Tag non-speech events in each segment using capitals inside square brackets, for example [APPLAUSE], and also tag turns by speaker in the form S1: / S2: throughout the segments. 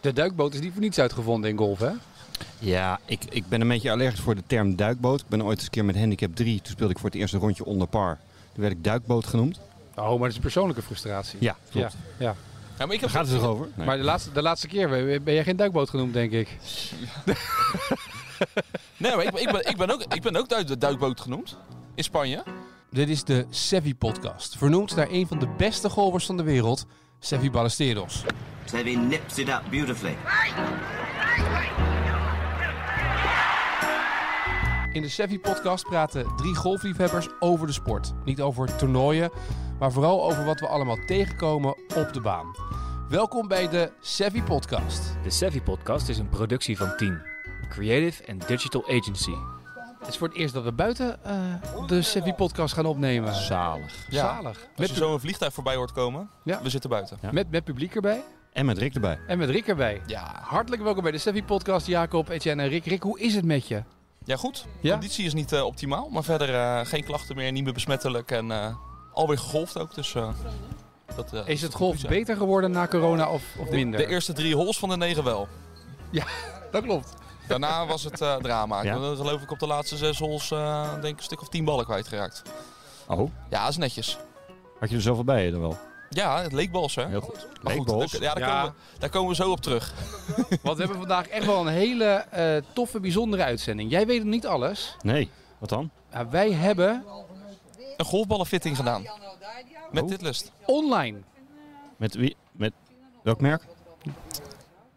S1: De duikboot is niet voor niets uitgevonden in golf, hè?
S2: Ja, ik, ik ben een beetje allergisch voor de term duikboot. Ik ben ooit eens een keer met handicap 3. Toen speelde ik voor het eerste rondje onder par. Toen werd ik duikboot genoemd.
S1: Oh, maar dat is persoonlijke frustratie.
S2: Ja, klopt.
S1: Ja, ja.
S3: Ja, maar ik
S2: Daar
S3: heb
S2: gaat het toch over? Nee.
S1: Maar de laatste, de laatste keer ben ben jij geen duikboot genoemd, denk ik.
S3: Nee, maar ik, ben- ik, ben, ik, ben ook, ik ben ook duik, duikboot genoemd. In Spanje.
S4: Dit is de Sevi Podcast, vernoemd naar een van de beste golfers van de wereld, Sevi Ballesteros.
S5: Sevi nips it up beautifully.
S4: In de Sevi Podcast praten drie golfliefhebbers over de sport. Niet over toernooien, maar vooral over wat we allemaal tegenkomen op de baan. Welkom bij de Sevi Podcast.
S6: De Savvy Podcast is een productie van Team, Creative and Digital Agency.
S1: Het is voor het eerst dat we buiten eh, de Sevi podcast gaan opnemen.
S2: Zalig.
S1: Zalig.
S3: Als
S1: Met,
S3: je zo een vliegtuig voorbij hoort komen,
S1: Ja.
S3: we zitten buiten.
S1: pu- met, met publiek erbij
S2: En met Rick erbij.
S1: en met Rick erbij.
S3: Ja,
S1: Hartelijk welkom bij de Sevi podcast, Jacob, Etienne en Rick. Rick, hoe is het met je?
S3: ja goed.
S1: Ja?
S3: Conditie is niet eh, optimaal, maar verder eh, geen klachten meer, niet meer besmettelijk en eh, alweer gegolfd ook. Dus, eh, dat, eh,
S1: Is het
S3: goed
S1: golf
S3: zijn.
S1: beter geworden na corona of, of minder?
S3: De eerste drie holes van de negen wel.
S1: dat klopt.
S3: Daarna was het eh, drama.
S2: Ja.
S3: Ik ben eh, geloof ik op de laatste zes holes eh, denk ik een stuk of tien ballen kwijtgeraakt.
S2: Oh,
S3: Ja, dat is netjes.
S2: had je er zoveel bij je dan wel?
S3: Ja, het leek bals hè.
S2: Heel goed.
S3: Maar goed,
S2: Leekbals.
S3: daar, ja, daar,
S1: Ja.
S3: Komen we, daar komen we zo op terug.
S1: [LAUGHS] Want we hebben vandaag echt wel een hele eh, toffe, bijzondere uitzending. Jij weet nog niet alles.
S2: Nee, wat dan?
S1: maar wij hebben
S3: Een golfballenfitting gedaan. Met
S2: Oh.
S3: dit list.
S1: online
S2: Met wie? Met welk merk?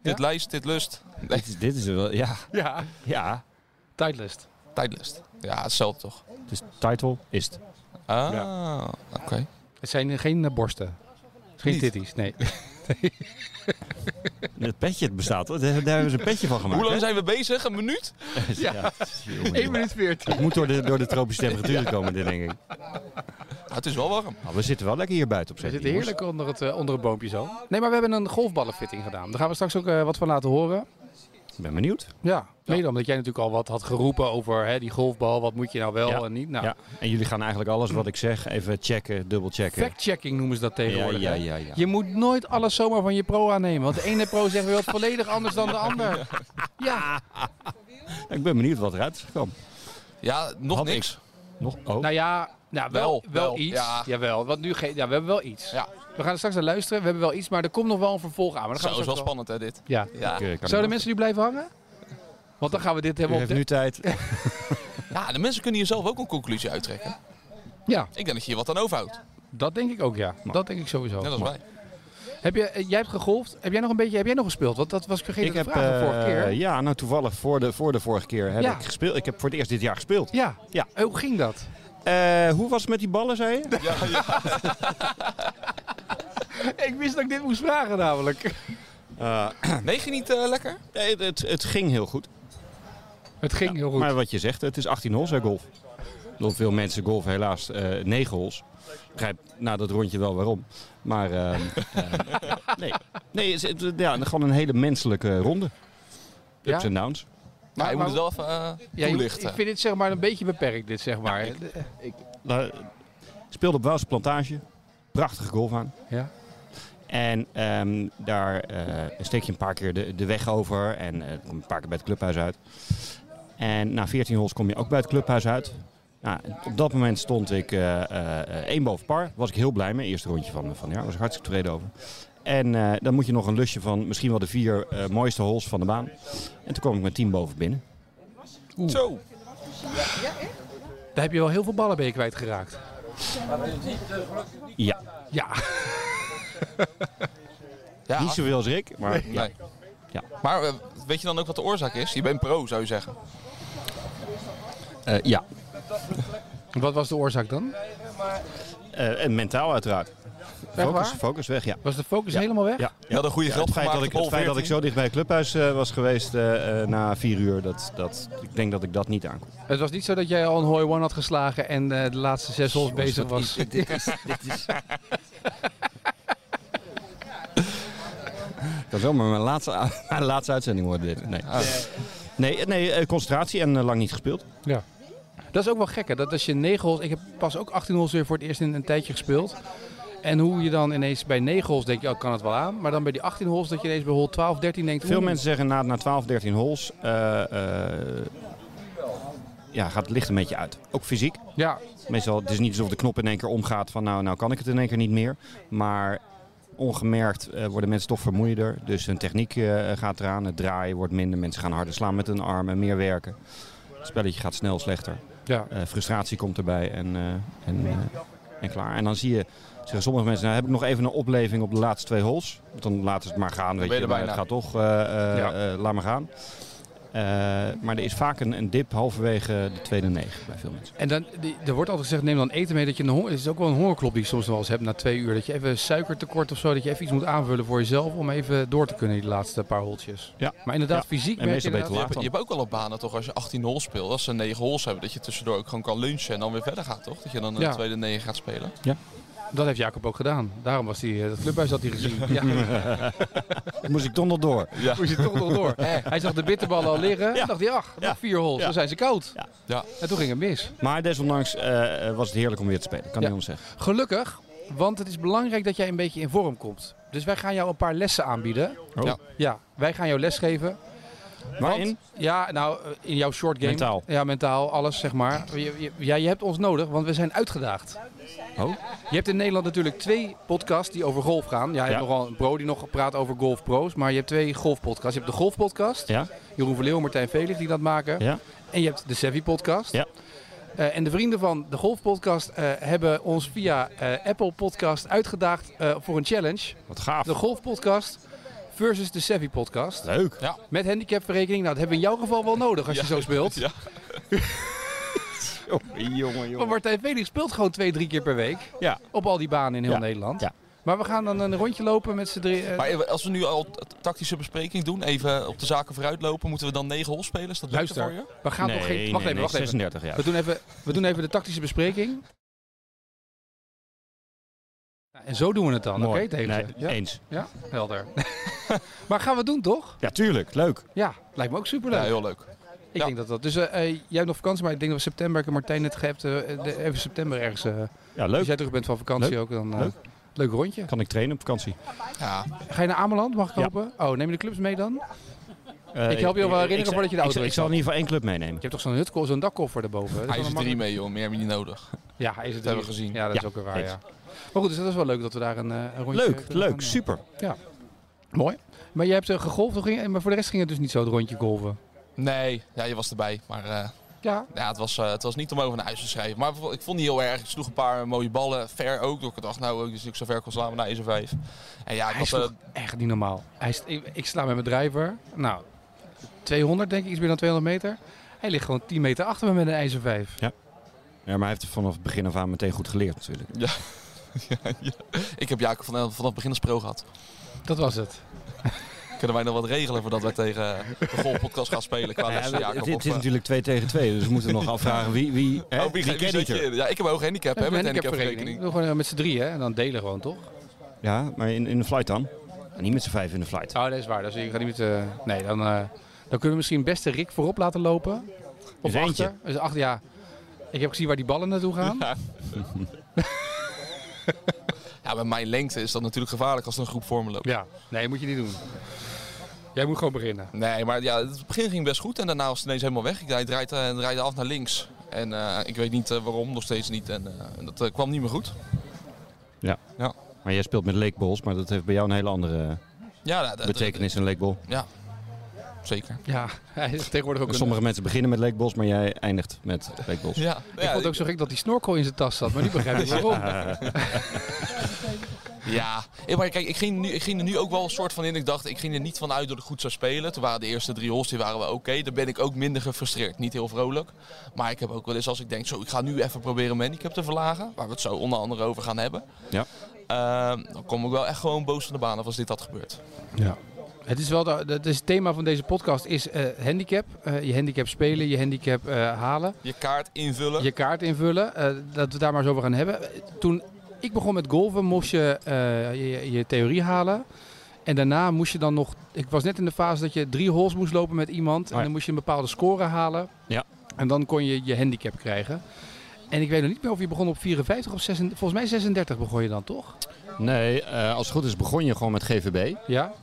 S3: Dit lijst, dit lust.
S2: Dit is, dit is wel, ja.
S1: Ja.
S2: Ja.
S1: Tijdlist.
S3: Tijdlist. Ja, hetzelfde toch?
S2: Dus title is het.
S3: Ah, oké.
S1: Het zijn geen eh, borsten. Het is Geen
S3: Niet.
S1: titties, [LAUGHS] nee.
S2: Het petje bestaat, hoor. daar daar hebben ze een petje van gemaakt.
S3: Hoe lang
S2: hè?
S3: zijn we bezig? Een minuut?
S2: Ja. het is- jongen,
S1: 1 minuut 14.
S2: Het moet door de, door de tropische temperaturen komen, dit denk ik.
S3: Ah, het is wel warm.
S2: Nou, we zitten wel lekker hier buiten op
S1: We
S2: z'n
S1: zitten heerlijk onder het, eh, onder het boompje zo. Nee, maar we hebben een golfballenfitting gedaan. Daar gaan we straks ook eh, wat van laten horen.
S2: Ik ben benieuwd.
S1: Ja, mede omdat jij natuurlijk al wat had geroepen over hè, die golfbal. Wat moet je nou wel en niet? Nou,
S2: Ja. En jullie gaan eigenlijk alles wat ik zeg even checken, dubbelchecken.
S1: fact-checking noemen ze dat
S2: ja,
S1: tegenwoordig.
S2: ja,
S1: hè?
S2: ja, ja.
S1: Je moet nooit alles zomaar van je pro aannemen. Want de ene pro zegt weer wat volledig anders dan de ander. Ja,
S2: Ik ben benieuwd wat eruit is gekomen.
S3: Ja, nog
S2: Had
S3: niks.
S2: Nog? Oh,
S1: nou ja, nou, wel, wel,
S3: Wel, wel,
S1: iets.
S3: ja.
S1: Jawel, want nu ge- ja, we hebben wel iets.
S3: Ja.
S1: We gaan er straks naar luisteren. We hebben wel iets, maar er komt nog wel een vervolg aan. Maar dan
S3: Zo,
S1: gaan we
S3: is wel
S1: straks
S3: spannend hè dit.
S1: Ja.
S3: Ja.
S2: ik, eh, kan
S1: Zouden
S2: niet.
S1: mensen nu blijven hangen? Want dan gaan we dit
S2: U
S1: hebben op
S2: heeft
S1: de...
S2: nu tijd.
S3: ja, de mensen kunnen hier zelf ook een conclusie uittrekken.
S1: Ja,
S3: Ik denk dat je hier wat aan overhoudt.
S2: Oh,
S1: dat denk ik ook, ja.
S2: Nou.
S1: Dat denk ik sowieso.
S3: Net als wij.
S1: Heb je, eh, jij hebt gegolfd. Heb jij nog een beetje heb jij nog gespeeld? Want dat was ik vergeten
S2: Ik
S1: te
S2: heb,
S1: vragen
S2: eh,
S1: vorige keer.
S2: ja, nou toevallig voor de, voor de vorige keer heb
S1: Ja.
S2: ik gespeeld. Ik heb voor het eerst dit jaar gespeeld.
S1: Ja.
S2: Ja.
S1: Eh, Hoe ging dat?
S2: Eh, hoe was het met die ballen, zei je?
S3: Ja, ja.
S1: [LAUGHS] ik wist dat ik dit moest vragen namelijk.
S3: Nee, ging niet eh, lekker?
S2: Nee, het- het, het ging heel goed.
S1: Het ging heel goed.
S2: Maar wat je zegt, het is 18 holes, hè, golf. Ik bedoel, Veel mensen golven helaas eh 9 holes. Ik begrijp na dat rondje wel waarom. Maar ehm, [LAUGHS] ehm, nee, nee het, is- het- ja, gewoon een hele menselijke ronde.
S1: Ja?
S2: Ups en downs.
S3: Maar je
S1: maar-
S3: moet het wel even eh,
S1: Ja, je-
S3: toelichten.
S1: ik vind dit zeg maar een beetje beperkt, dit zeg maar. Ja,
S2: Nou, ik speelde op Waalse Plantage. Prachtige golf aan.
S1: ja.
S2: En ehm, daar eh, steek je een paar keer de, de weg over en eh, kom je een paar keer bij het clubhuis uit. En na 14 holes kom je ook bij het clubhuis uit. Nou, op dat moment stond ik eh, eh, eh, één boven par. Was ik heel blij mee. Eerste rondje van, van het jaar. Was ik hartstikke tevreden over. En eh, dan moet je nog een lusje van misschien wel de vier eh, mooiste holes van de baan. En toen kwam ik met 10 boven binnen.
S3: Zo.
S1: Daar heb je wel heel veel ballen bij je kwijtgeraakt.
S2: Ja,
S1: Ja.
S3: Ja,
S2: niet zoveel als ik. Maar
S3: nee.
S2: ja. Ja.
S3: Ja. Maar eh, weet je dan ook wat de oorzaak is? Je bent pro, zou je zeggen.
S2: Eh, ja.
S1: [LAUGHS] Wat was de oorzaak dan?
S2: Eh, en mentaal uiteraard. Focus,
S1: waar?
S2: focus weg, ja.
S1: Was de focus
S2: Ja.
S1: helemaal weg?
S2: Ja,
S3: Je had een goede
S2: Ja,
S3: grap
S2: het feit,
S3: gemaakt
S2: dat ik,
S3: op
S2: het
S3: hol
S2: feit dat ik
S3: 14.
S2: zo dicht bij het clubhuis eh, was geweest eh, eh, na vier uur, dat, dat, ik denk dat ik dat niet aankom.
S1: Het was niet zo dat jij al een hoi one had geslagen en eh, de laatste zes holes bezig was.
S5: dit is, dit is
S2: Dat kan zomaar mijn laatste, [LAUGHS] mijn laatste uitzending worden dit. Nee, Ah. nee, nee eh, concentratie en eh, lang niet gespeeld.
S1: Ja. Dat is ook wel gek, hè? Dat als je negen holes... Ik heb pas ook 18 holes weer voor het eerst in een tijdje gespeeld. En hoe je dan ineens bij 9 holes denkt, ja, ik kan het wel aan. Maar dan bij die 18 holes dat je ineens bij hole 12, 13 denkt...
S2: Veel
S1: oeh,
S2: mensen zeggen na, na 12, 13 holes eh, eh, ja, gaat het licht een beetje uit. Ook fysiek.
S1: Ja,
S2: Meestal het is niet alsof de knop in één keer omgaat van nou, nou kan ik het in één keer niet meer. Maar ongemerkt eh, worden mensen toch vermoeider. Dus hun techniek eh, gaat eraan. Het draaien wordt minder. Mensen gaan harder slaan met hun armen. Meer werken. Het spelletje gaat snel slechter.
S1: ja.
S2: Eh, frustratie komt erbij en, eh, en, eh, en klaar. En dan zie je, zeggen sommige mensen, nou heb ik nog even een opleving op de laatste twee holes. Want dan laten ze het maar gaan, weet
S3: ben
S2: je,
S3: je
S2: maar
S3: er
S2: het
S3: bijna.
S2: gaat toch, eh, eh,
S1: Ja.
S2: eh, laat maar gaan. Eh, maar er is vaak een, een dip halverwege de tweede negen bij veel mensen.
S1: En dan, die, er wordt altijd gezegd, neem dan eten mee. Dat je een honger, het is ook wel een hongerklop die je soms wel eens hebt na twee uur. Dat je even suikertekort of zo, dat je even iets moet aanvullen voor jezelf. Om even door te kunnen die laatste paar holtjes.
S2: Ja.
S1: Maar inderdaad,
S2: Ja.
S1: fysiek
S2: En
S1: merk je
S2: meestal ben je te
S1: inderdaad-
S3: Je hebt,
S2: laat dan.
S3: je hebt ook wel op banen toch, als je 18 holes speelt, als ze 9 holes hebben, dat je tussendoor ook gewoon kan lunchen en dan weer verder gaat, toch? Dat je dan een
S1: Ja.
S3: tweede 9 gaat spelen.
S1: Dat heeft Jacob ook gedaan. Daarom was hij, eh, dat clubhuis had hij
S2: [LAUGHS]
S1: gezien. Ja,
S2: Moest ik toch nog door.
S3: Ja.
S1: [LAUGHS] moest hij toch nog door. Hij zag de bitterballen al liggen.
S2: Ja.
S1: dacht hij, ach, nog
S2: Ja.
S1: vier holes,
S2: Ja.
S1: dan zijn ze koud.
S2: Ja.
S3: Ja.
S1: En toen ging het mis.
S2: Maar desondanks eh, was het heerlijk om weer te spelen, kan
S1: Ja.
S2: niemand zeggen.
S1: Gelukkig, want het is belangrijk dat jij een beetje in vorm komt. Dus wij gaan jou een paar lessen aanbieden.
S2: Oh.
S3: Ja.
S1: Ja, wij gaan jou les geven.
S2: Waarin?
S1: Ja, nou, eh, in jouw short game.
S2: Mentaal.
S1: Ja, mentaal, alles zeg maar. Je, je- ja, je hebt ons nodig, want we zijn uitgedaagd.
S2: Oh.
S1: Je hebt in Nederland natuurlijk twee podcasts die over golf gaan. Ja, je
S2: Ja.
S1: hebt nogal een bro die nog praat over golfpro's. Maar je hebt twee golfpodcasts. Je hebt de golfpodcast,
S2: Ja,
S1: Jeroen Verleeuw en Martijn Velig die dat maken.
S2: ja.
S1: En je hebt de Sevi-podcast.
S2: Ja.
S1: Eh, en de vrienden van de Golfpodcast eh, hebben ons via eh, Apple Podcast uitgedaagd eh, voor een challenge.
S2: Wat gaaf.
S1: De Golfpodcast versus de Sevi-podcast.
S2: Leuk.
S1: Met handicapverrekening. Nou, dat hebben we in jouw geval wel nodig als je zo speelt.
S3: [LAUGHS] Ja.
S2: jongen,
S1: Want Martijn Felix speelt gewoon twee, drie keer per week.
S2: Ja.
S1: Op al die banen in heel
S2: Ja.
S1: Nederland.
S2: Ja.
S1: Maar we gaan dan een rondje lopen met z'n drie. eh,
S3: Maar even, als we nu al t- tactische bespreking doen, even op de zaken vooruitlopen, moeten we dan 9 holes spelen? Is dat beter
S1: Luister.
S3: voor je?
S1: we gaan nog geen... Wacht even, wacht even.
S2: 36 jaar.
S1: We doen even, we doen even de tactische bespreking. Nou, En zo doen we het dan, oké?
S2: Mooi.
S1: tegen
S2: Nee,
S1: ze. Ja.
S2: Eens.
S1: Ja, helder. [LAUGHS] maar gaan we het doen, toch?
S2: Ja, tuurlijk. Leuk.
S1: Ja, lijkt me ook superleuk.
S3: Ja, heel leuk.
S1: ik
S3: ja.
S1: denk dat dat... Dus eh, eh, jij hebt nog vakantie, maar ik denk dat we september... Ik heb Martijn net gehebt, eh, de- even september ergens. eh,
S2: Ja,
S1: als
S2: leuk.
S1: jij terug bent van vakantie
S2: Leuk.
S1: ook, dan... eh,
S2: Leuk.
S1: Leuk rondje.
S2: Kan ik trainen op vakantie?
S3: Ja.
S1: Ga je naar Ameland? Mag ik
S2: Ja.
S1: hopen? Oh, neem je de clubs mee dan?
S2: Eh,
S1: Ik help je wel
S2: ik-
S1: herinneren
S2: ik-
S1: voordat je de
S2: ik-
S1: auto
S2: Ik, zal in ieder geval één club meenemen.
S1: Je hebt toch zo'n hutkoffer, zo'n dakkoffer erboven? hè? Dat
S3: Hij is
S1: wel
S3: er
S1: een
S3: drie
S1: makkelijk-
S3: mee, joh. Meer hebben we niet nodig.
S1: Ja, hij is er
S3: Dat
S1: drie.
S3: hebben we gezien.
S1: Ja, dat is
S2: Ja,
S1: ook weer waar,
S2: eens.
S1: ja. Maar goed, dus dat is wel leuk dat we daar een, eh, een rondje...
S2: Leuk,
S1: kunnen gaan,
S2: leuk,
S1: ja.
S2: super.
S1: Mooi. Maar jij hebt eh, gegolfd, toch? Ging- maar voor de rest ging het dus niet zo het rondje golven.
S3: Nee, ja, je was erbij. Maar eh,
S1: Ja,
S3: ja, het, was, eh, het was niet om over naar huis te schrijven. Maar ik vond het niet heel erg. Ik sloeg een paar mooie ballen. Ver ook. Door ik dacht, nou, dus ik zo ver kon slaan naar 1 of 5. En ja,
S1: Hij
S3: ik had,
S1: is
S3: eh,
S1: toch echt niet normaal. Hij is, ik, ik sla met mijn driver. Nou, 200 denk ik, iets meer dan 200 meter. Hij ligt gewoon 10 meter achter me met een ijzer 5.
S2: Ja, maar hij heeft het vanaf het begin af aan meteen goed geleerd natuurlijk.
S3: eh, ik heb Jacob van, vanaf beginners pro gehad.
S1: Dat was het.
S3: Kunnen wij nog wat regelen voordat wij tegen de golfpodcast gaan spelen? Qua
S2: Ja,
S3: lessen, Jacob,
S2: het, het
S3: of,
S2: is
S3: eh,
S2: natuurlijk 2 tegen 2, dus we
S1: [LAUGHS]
S2: moeten nog afvragen wie, wie, hè,
S3: oh, wie, wie,
S2: kent het
S3: zet je
S2: er.
S3: in? Ja, ik heb een hoog handicap, hè,
S1: Met
S3: met
S1: een handicapvereniging.
S3: handicapverrekening.
S1: Doe gewoon eh, met z'n drieën hè, en dan delen gewoon, toch?
S2: Ja, maar in, in de flight dan? En niet met z'n vijf in de flight.
S1: Oh, dat is waar. Dus ik ga niet met, eh, nee, dan, eh, dan kunnen we misschien beste Rick voorop laten lopen. Of
S2: Dus eentje.
S1: achter. Dus achter, ja. Ik heb gezien waar die ballen naartoe gaan.
S3: Ja, bij mijn lengte is dat natuurlijk gevaarlijk als er een groep voor me loopt.
S1: Ja, nee, moet je niet doen. Jij moet gewoon beginnen.
S3: Nee, maar ja, het begin ging best goed en daarna was het ineens helemaal weg. Ik draai- draait, eh, en draaide af naar links. En eh, ik weet niet eh, waarom, nog steeds niet. En eh, en dat eh, kwam niet meer goed.
S2: Maar jij speelt met leekbols, maar dat heeft bij jou een hele andere
S3: Ja, nou, dat-
S2: betekenis, een leekbol.
S3: Zeker.
S1: Ja, hij is tegenwoordig ook een...
S2: Sommige mensen beginnen met leekbols, maar jij eindigt met leekbols.
S3: Ja,
S1: Ik vond het ook zo gek dat die snorkel in zijn tas zat, maar niet begrijp ik [LAUGHS] waarom.
S3: Ja, Eh, maar kijk, ik ging, nu, ik ging er nu ook wel een soort van in. Ik dacht, ik ging er niet van uit dat ik goed zou spelen. Toen waren de eerste drie holes, die waren wel oké. Daar ben ik ook minder gefrustreerd. Niet heel vrolijk. Maar ik heb ook wel eens als ik denk, zo, ik ga nu even proberen mijn handicap te verlagen. Waar we het zo onder andere over gaan hebben.
S2: Ja.
S3: Ehm, dan kom ik wel echt gewoon boos van de baan af als dit had gebeurd.
S1: Ja. Het is wel de, het, is het thema van deze podcast is eh, handicap. Eh, je handicap spelen, je handicap eh, halen,
S3: Je kaart invullen.
S1: je kaart invullen. eh, dat we daar maar eens over gaan hebben. Eh, Toen ik begon met golven moest je, eh, je je theorie halen. En daarna moest je dan nog... Ik was net in de fase dat je drie holes moest lopen met iemand.
S2: ja.
S1: En dan moest je een bepaalde score halen.
S2: Ja.
S1: En dan kon je je handicap krijgen. En ik weet nog niet meer of je begon op 54 of 36. Volgens mij 36 begon je dan toch?
S2: Nee, eh, als het goed is begon je gewoon met GVB.
S1: Ja.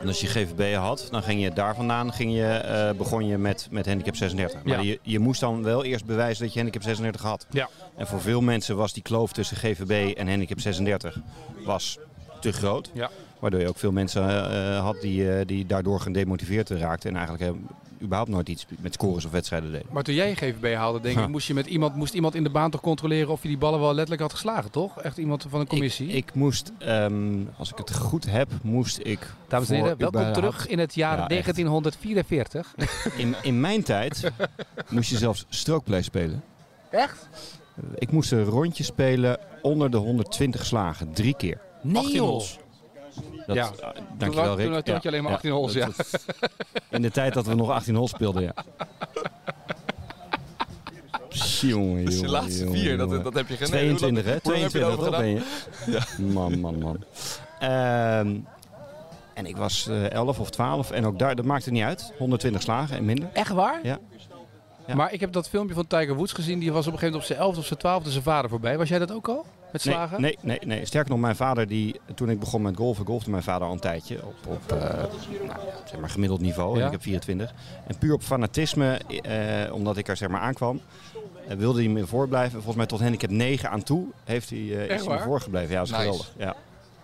S2: En als je GVB had, dan ging je daar vandaan ging je, eh, begon je met, met handicap 36. Maar
S1: Ja.
S2: je, je moest dan wel eerst bewijzen dat je handicap 36 had.
S1: Ja.
S2: En voor veel mensen was die kloof tussen GVB en handicap 36 was te groot.
S1: Ja.
S2: Waardoor je ook veel mensen eh, eh, had die, eh, die daardoor gedemotiveerd raakten. En eigenlijk eh, überhaupt nooit iets met scores of wedstrijden deden.
S1: Maar toen jij GVB haalde, denk ik,
S2: Ja.
S1: moest, je met iemand, moest iemand in de baan toch controleren of je die ballen wel letterlijk had geslagen, toch? Echt iemand van een commissie.
S2: Ik, ik moest, ehm, als ik het goed heb, moest ik...
S1: Dames en
S2: voor
S1: heren, welkom
S2: überhaupt-
S1: terug in het jaar
S2: Ja, echt.
S1: 1944.
S2: In, in mijn
S1: [LAUGHS]
S2: tijd moest je zelfs strookplay spelen.
S1: Echt?
S2: Ik moest een rondje spelen onder de 120 slagen. Drie keer.
S1: Nee
S3: 18
S1: joh.
S3: hols.
S2: Dat,
S1: Ja.
S2: ah, dankjewel
S1: Toen-
S2: Rick.
S1: toen had je alleen maar 18 holes, ja.
S2: dat- dat- In de tijd dat we nog 18 hols speelden,
S1: [LAUGHS]
S2: ja. Jongen,
S3: Dus de
S2: jongen,
S3: laatste
S2: jongen,
S3: vier,
S2: jongen.
S3: dat, dat heb je gedaan.
S2: 22 hè?
S3: Hoe lang heb je
S2: 22,
S3: erover
S2: dat
S3: gedaan?
S2: ben je. Man, man, man. Ehm, en ik was eh, 11 of 12 en ook daar, dat maakte niet uit. 120 slagen en minder.
S1: Echt waar?
S2: Ja. Ja.
S1: Maar ik heb dat filmpje van Tiger Woods gezien. Die was op een gegeven moment op zijn 11 of zijn 12 zijn vader voorbij. Was jij dat ook al? Met
S2: Nee,
S1: slagen?
S2: Nee, nee, nee. Sterker nog, mijn vader, die, toen ik begon met golfen, golfde mijn vader al een tijdje. Op, op eh, nou, zeg maar gemiddeld niveau.
S1: Ja.
S2: En ik heb 24. En puur op fanatisme, eh, omdat ik er zeg maar aankwam, eh, wilde hij me voorblijven. Volgens mij tot handicap 9 aan toe heeft hij, eh, is hij me
S1: waar?
S2: voorgebleven. Ja, dat is
S3: Nice.
S2: geweldig. Ja.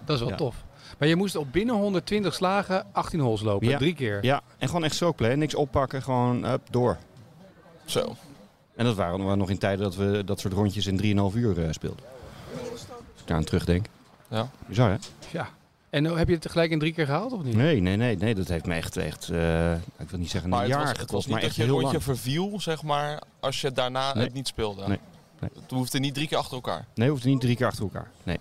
S1: Dat is wel
S2: Ja.
S1: tof. Maar je moest op binnen 120 slagen 18 holes lopen.
S2: Ja.
S1: Drie keer.
S2: ja, en gewoon echt zo play. Niks oppakken, gewoon hup, door.
S3: Zo.
S2: En dat waren we nog in tijden dat we dat soort rondjes in 3,5 uur eh, speelden. Als ik daar aan terugdenk.
S3: Ja.
S2: Bizar, hè?
S1: Ja. En eh, heb je het tegelijk in drie keer gehaald of niet?
S2: Nee, nee, nee, nee. Dat heeft me echt, echt eh, ik wil niet zeggen een
S3: Maar het
S2: jaar
S3: was, het
S2: gekost,
S3: was niet
S2: maar
S3: dat
S2: echt
S3: je een
S2: heel
S3: rondje
S2: lang.
S3: verviel, zeg maar, als je daarna
S2: Nee.
S3: het niet speelde.
S2: Nee. Nee.
S3: Het hoefde niet drie keer achter elkaar.
S2: Nee, hoeft niet drie keer achter elkaar. Nee,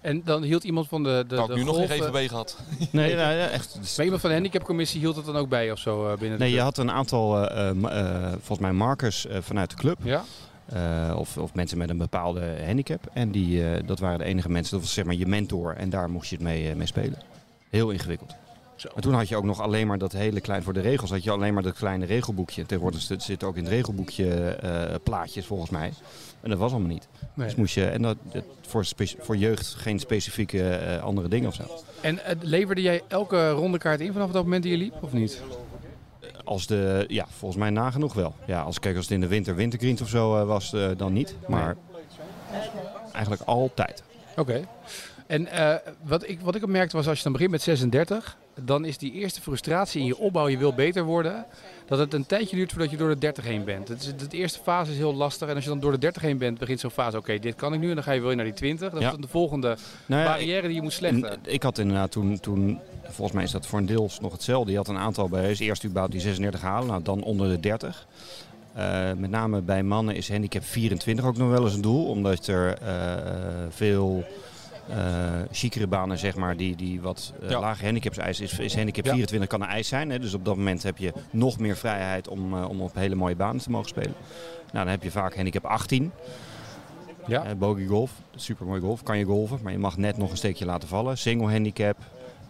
S1: En dan hield iemand van de, de,
S3: Dat had
S1: de
S3: ik nu nog
S1: golf,
S3: geen
S1: eh,
S3: GVB gehad. [LAUGHS]
S2: nee, nou, ja, echt. het is-
S1: Maar iemand van de handicapcommissie hield het dan ook bij of zo eh, binnen
S2: Nee,
S1: de
S2: je
S1: club?
S2: had een aantal, eh, eh, ma- eh, volgens mij markers eh, vanuit de club.
S1: Ja?
S2: eh, of, of mensen met een bepaalde handicap. En die, eh, dat waren de enige mensen, dat was zeg maar je mentor. En daar moest je het mee, eh, mee spelen. Heel ingewikkeld.
S1: Zo.
S2: Maar toen had je ook nog alleen maar dat hele klein, voor de regels had je alleen maar dat kleine regelboekje. Tegenwoordig zit- zit ook in het regelboekje eh, plaatjes volgens mij. En dat was allemaal niet.
S1: Nee.
S2: Dus moest je, en dat, dat voor, spe- voor jeugd geen specifieke eh, andere dingen of zo.
S1: En eh, leverde jij elke rondekaart in vanaf dat moment dat je liep of niet?
S2: Als de, ja, volgens mij nagenoeg wel. Ja, als, kijk, als het in de winter wintergrind of zo eh, was, eh, dan niet. Maar eigenlijk altijd.
S1: Oké. En eh, wat, ik, wat ik ook merkte was als je dan begint met 36, dan is die eerste frustratie in je opbouw, je wil beter worden, dat het een tijdje duurt voordat je door de 30 heen bent. Het is, de eerste fase is heel lastig en als je dan door de 30 heen bent, begint zo'n fase, oké, dit kan ik nu en dan ga je weer naar die 20. Dat
S2: Ja.
S1: is dan de volgende
S2: Nou ja,
S1: barrière die je moet
S2: En
S1: slechten.
S2: ik had inderdaad toen, toen, volgens mij is dat voor een deels nog hetzelfde. Je had een aantal bij is eerst überhaupt die 36 halen, nou, dan onder de 30. Eh, met name bij mannen is handicap 24 ook nog wel eens een doel, omdat er eh, veel eh chicere banen, zeg maar, die, die wat eh,
S3: Ja.
S2: lage handicaps eisen. Is, is handicap
S1: Ja.
S2: 24 kan een eis zijn, hè, dus op dat moment heb je nog meer vrijheid om, eh, om op hele mooie banen te mogen spelen. Nou, dan heb je vaak handicap 18.
S1: Ja.
S2: Eh, bogey golf, super mooi golf, kan je golven, maar je mag net nog een steekje laten vallen. Single handicap,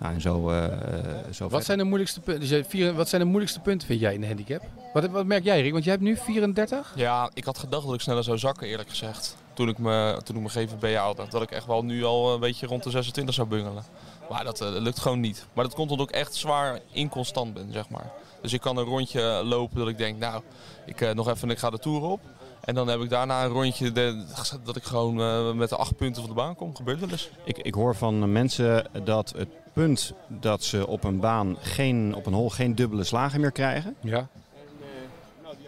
S2: nou en zo. eh, eh, zo
S1: Wat
S2: verder.
S1: zijn, de moeilijkste punten, dus jij- vier- wat zijn de moeilijkste punten, vind jij, in de handicap? Wat, wat merk jij, Rick? Want jij hebt nu 34?
S3: Ja, ik had gedacht dat ik sneller zou zakken, eerlijk gezegd. Toen ik, me, toen ik mijn GVB haalde. Dat ik echt wel nu al eh, een beetje rond de 26 zou bungelen. Maar dat eh, lukt gewoon niet. Maar dat komt omdat ik echt zwaar inconstant ben, zeg maar. Dus ik kan een rondje lopen dat ik denk, nou, ik eh, nog even, ik ga de tour op. En dan heb ik daarna een rondje de- dat ik gewoon eh, met de acht punten van de baan kom. dus. Gebeurt wel eens.
S2: Ik, ik hoor van eh, mensen dat het punt dat ze op een baan geen, op een hol geen dubbele slagen meer krijgen,
S1: Ja.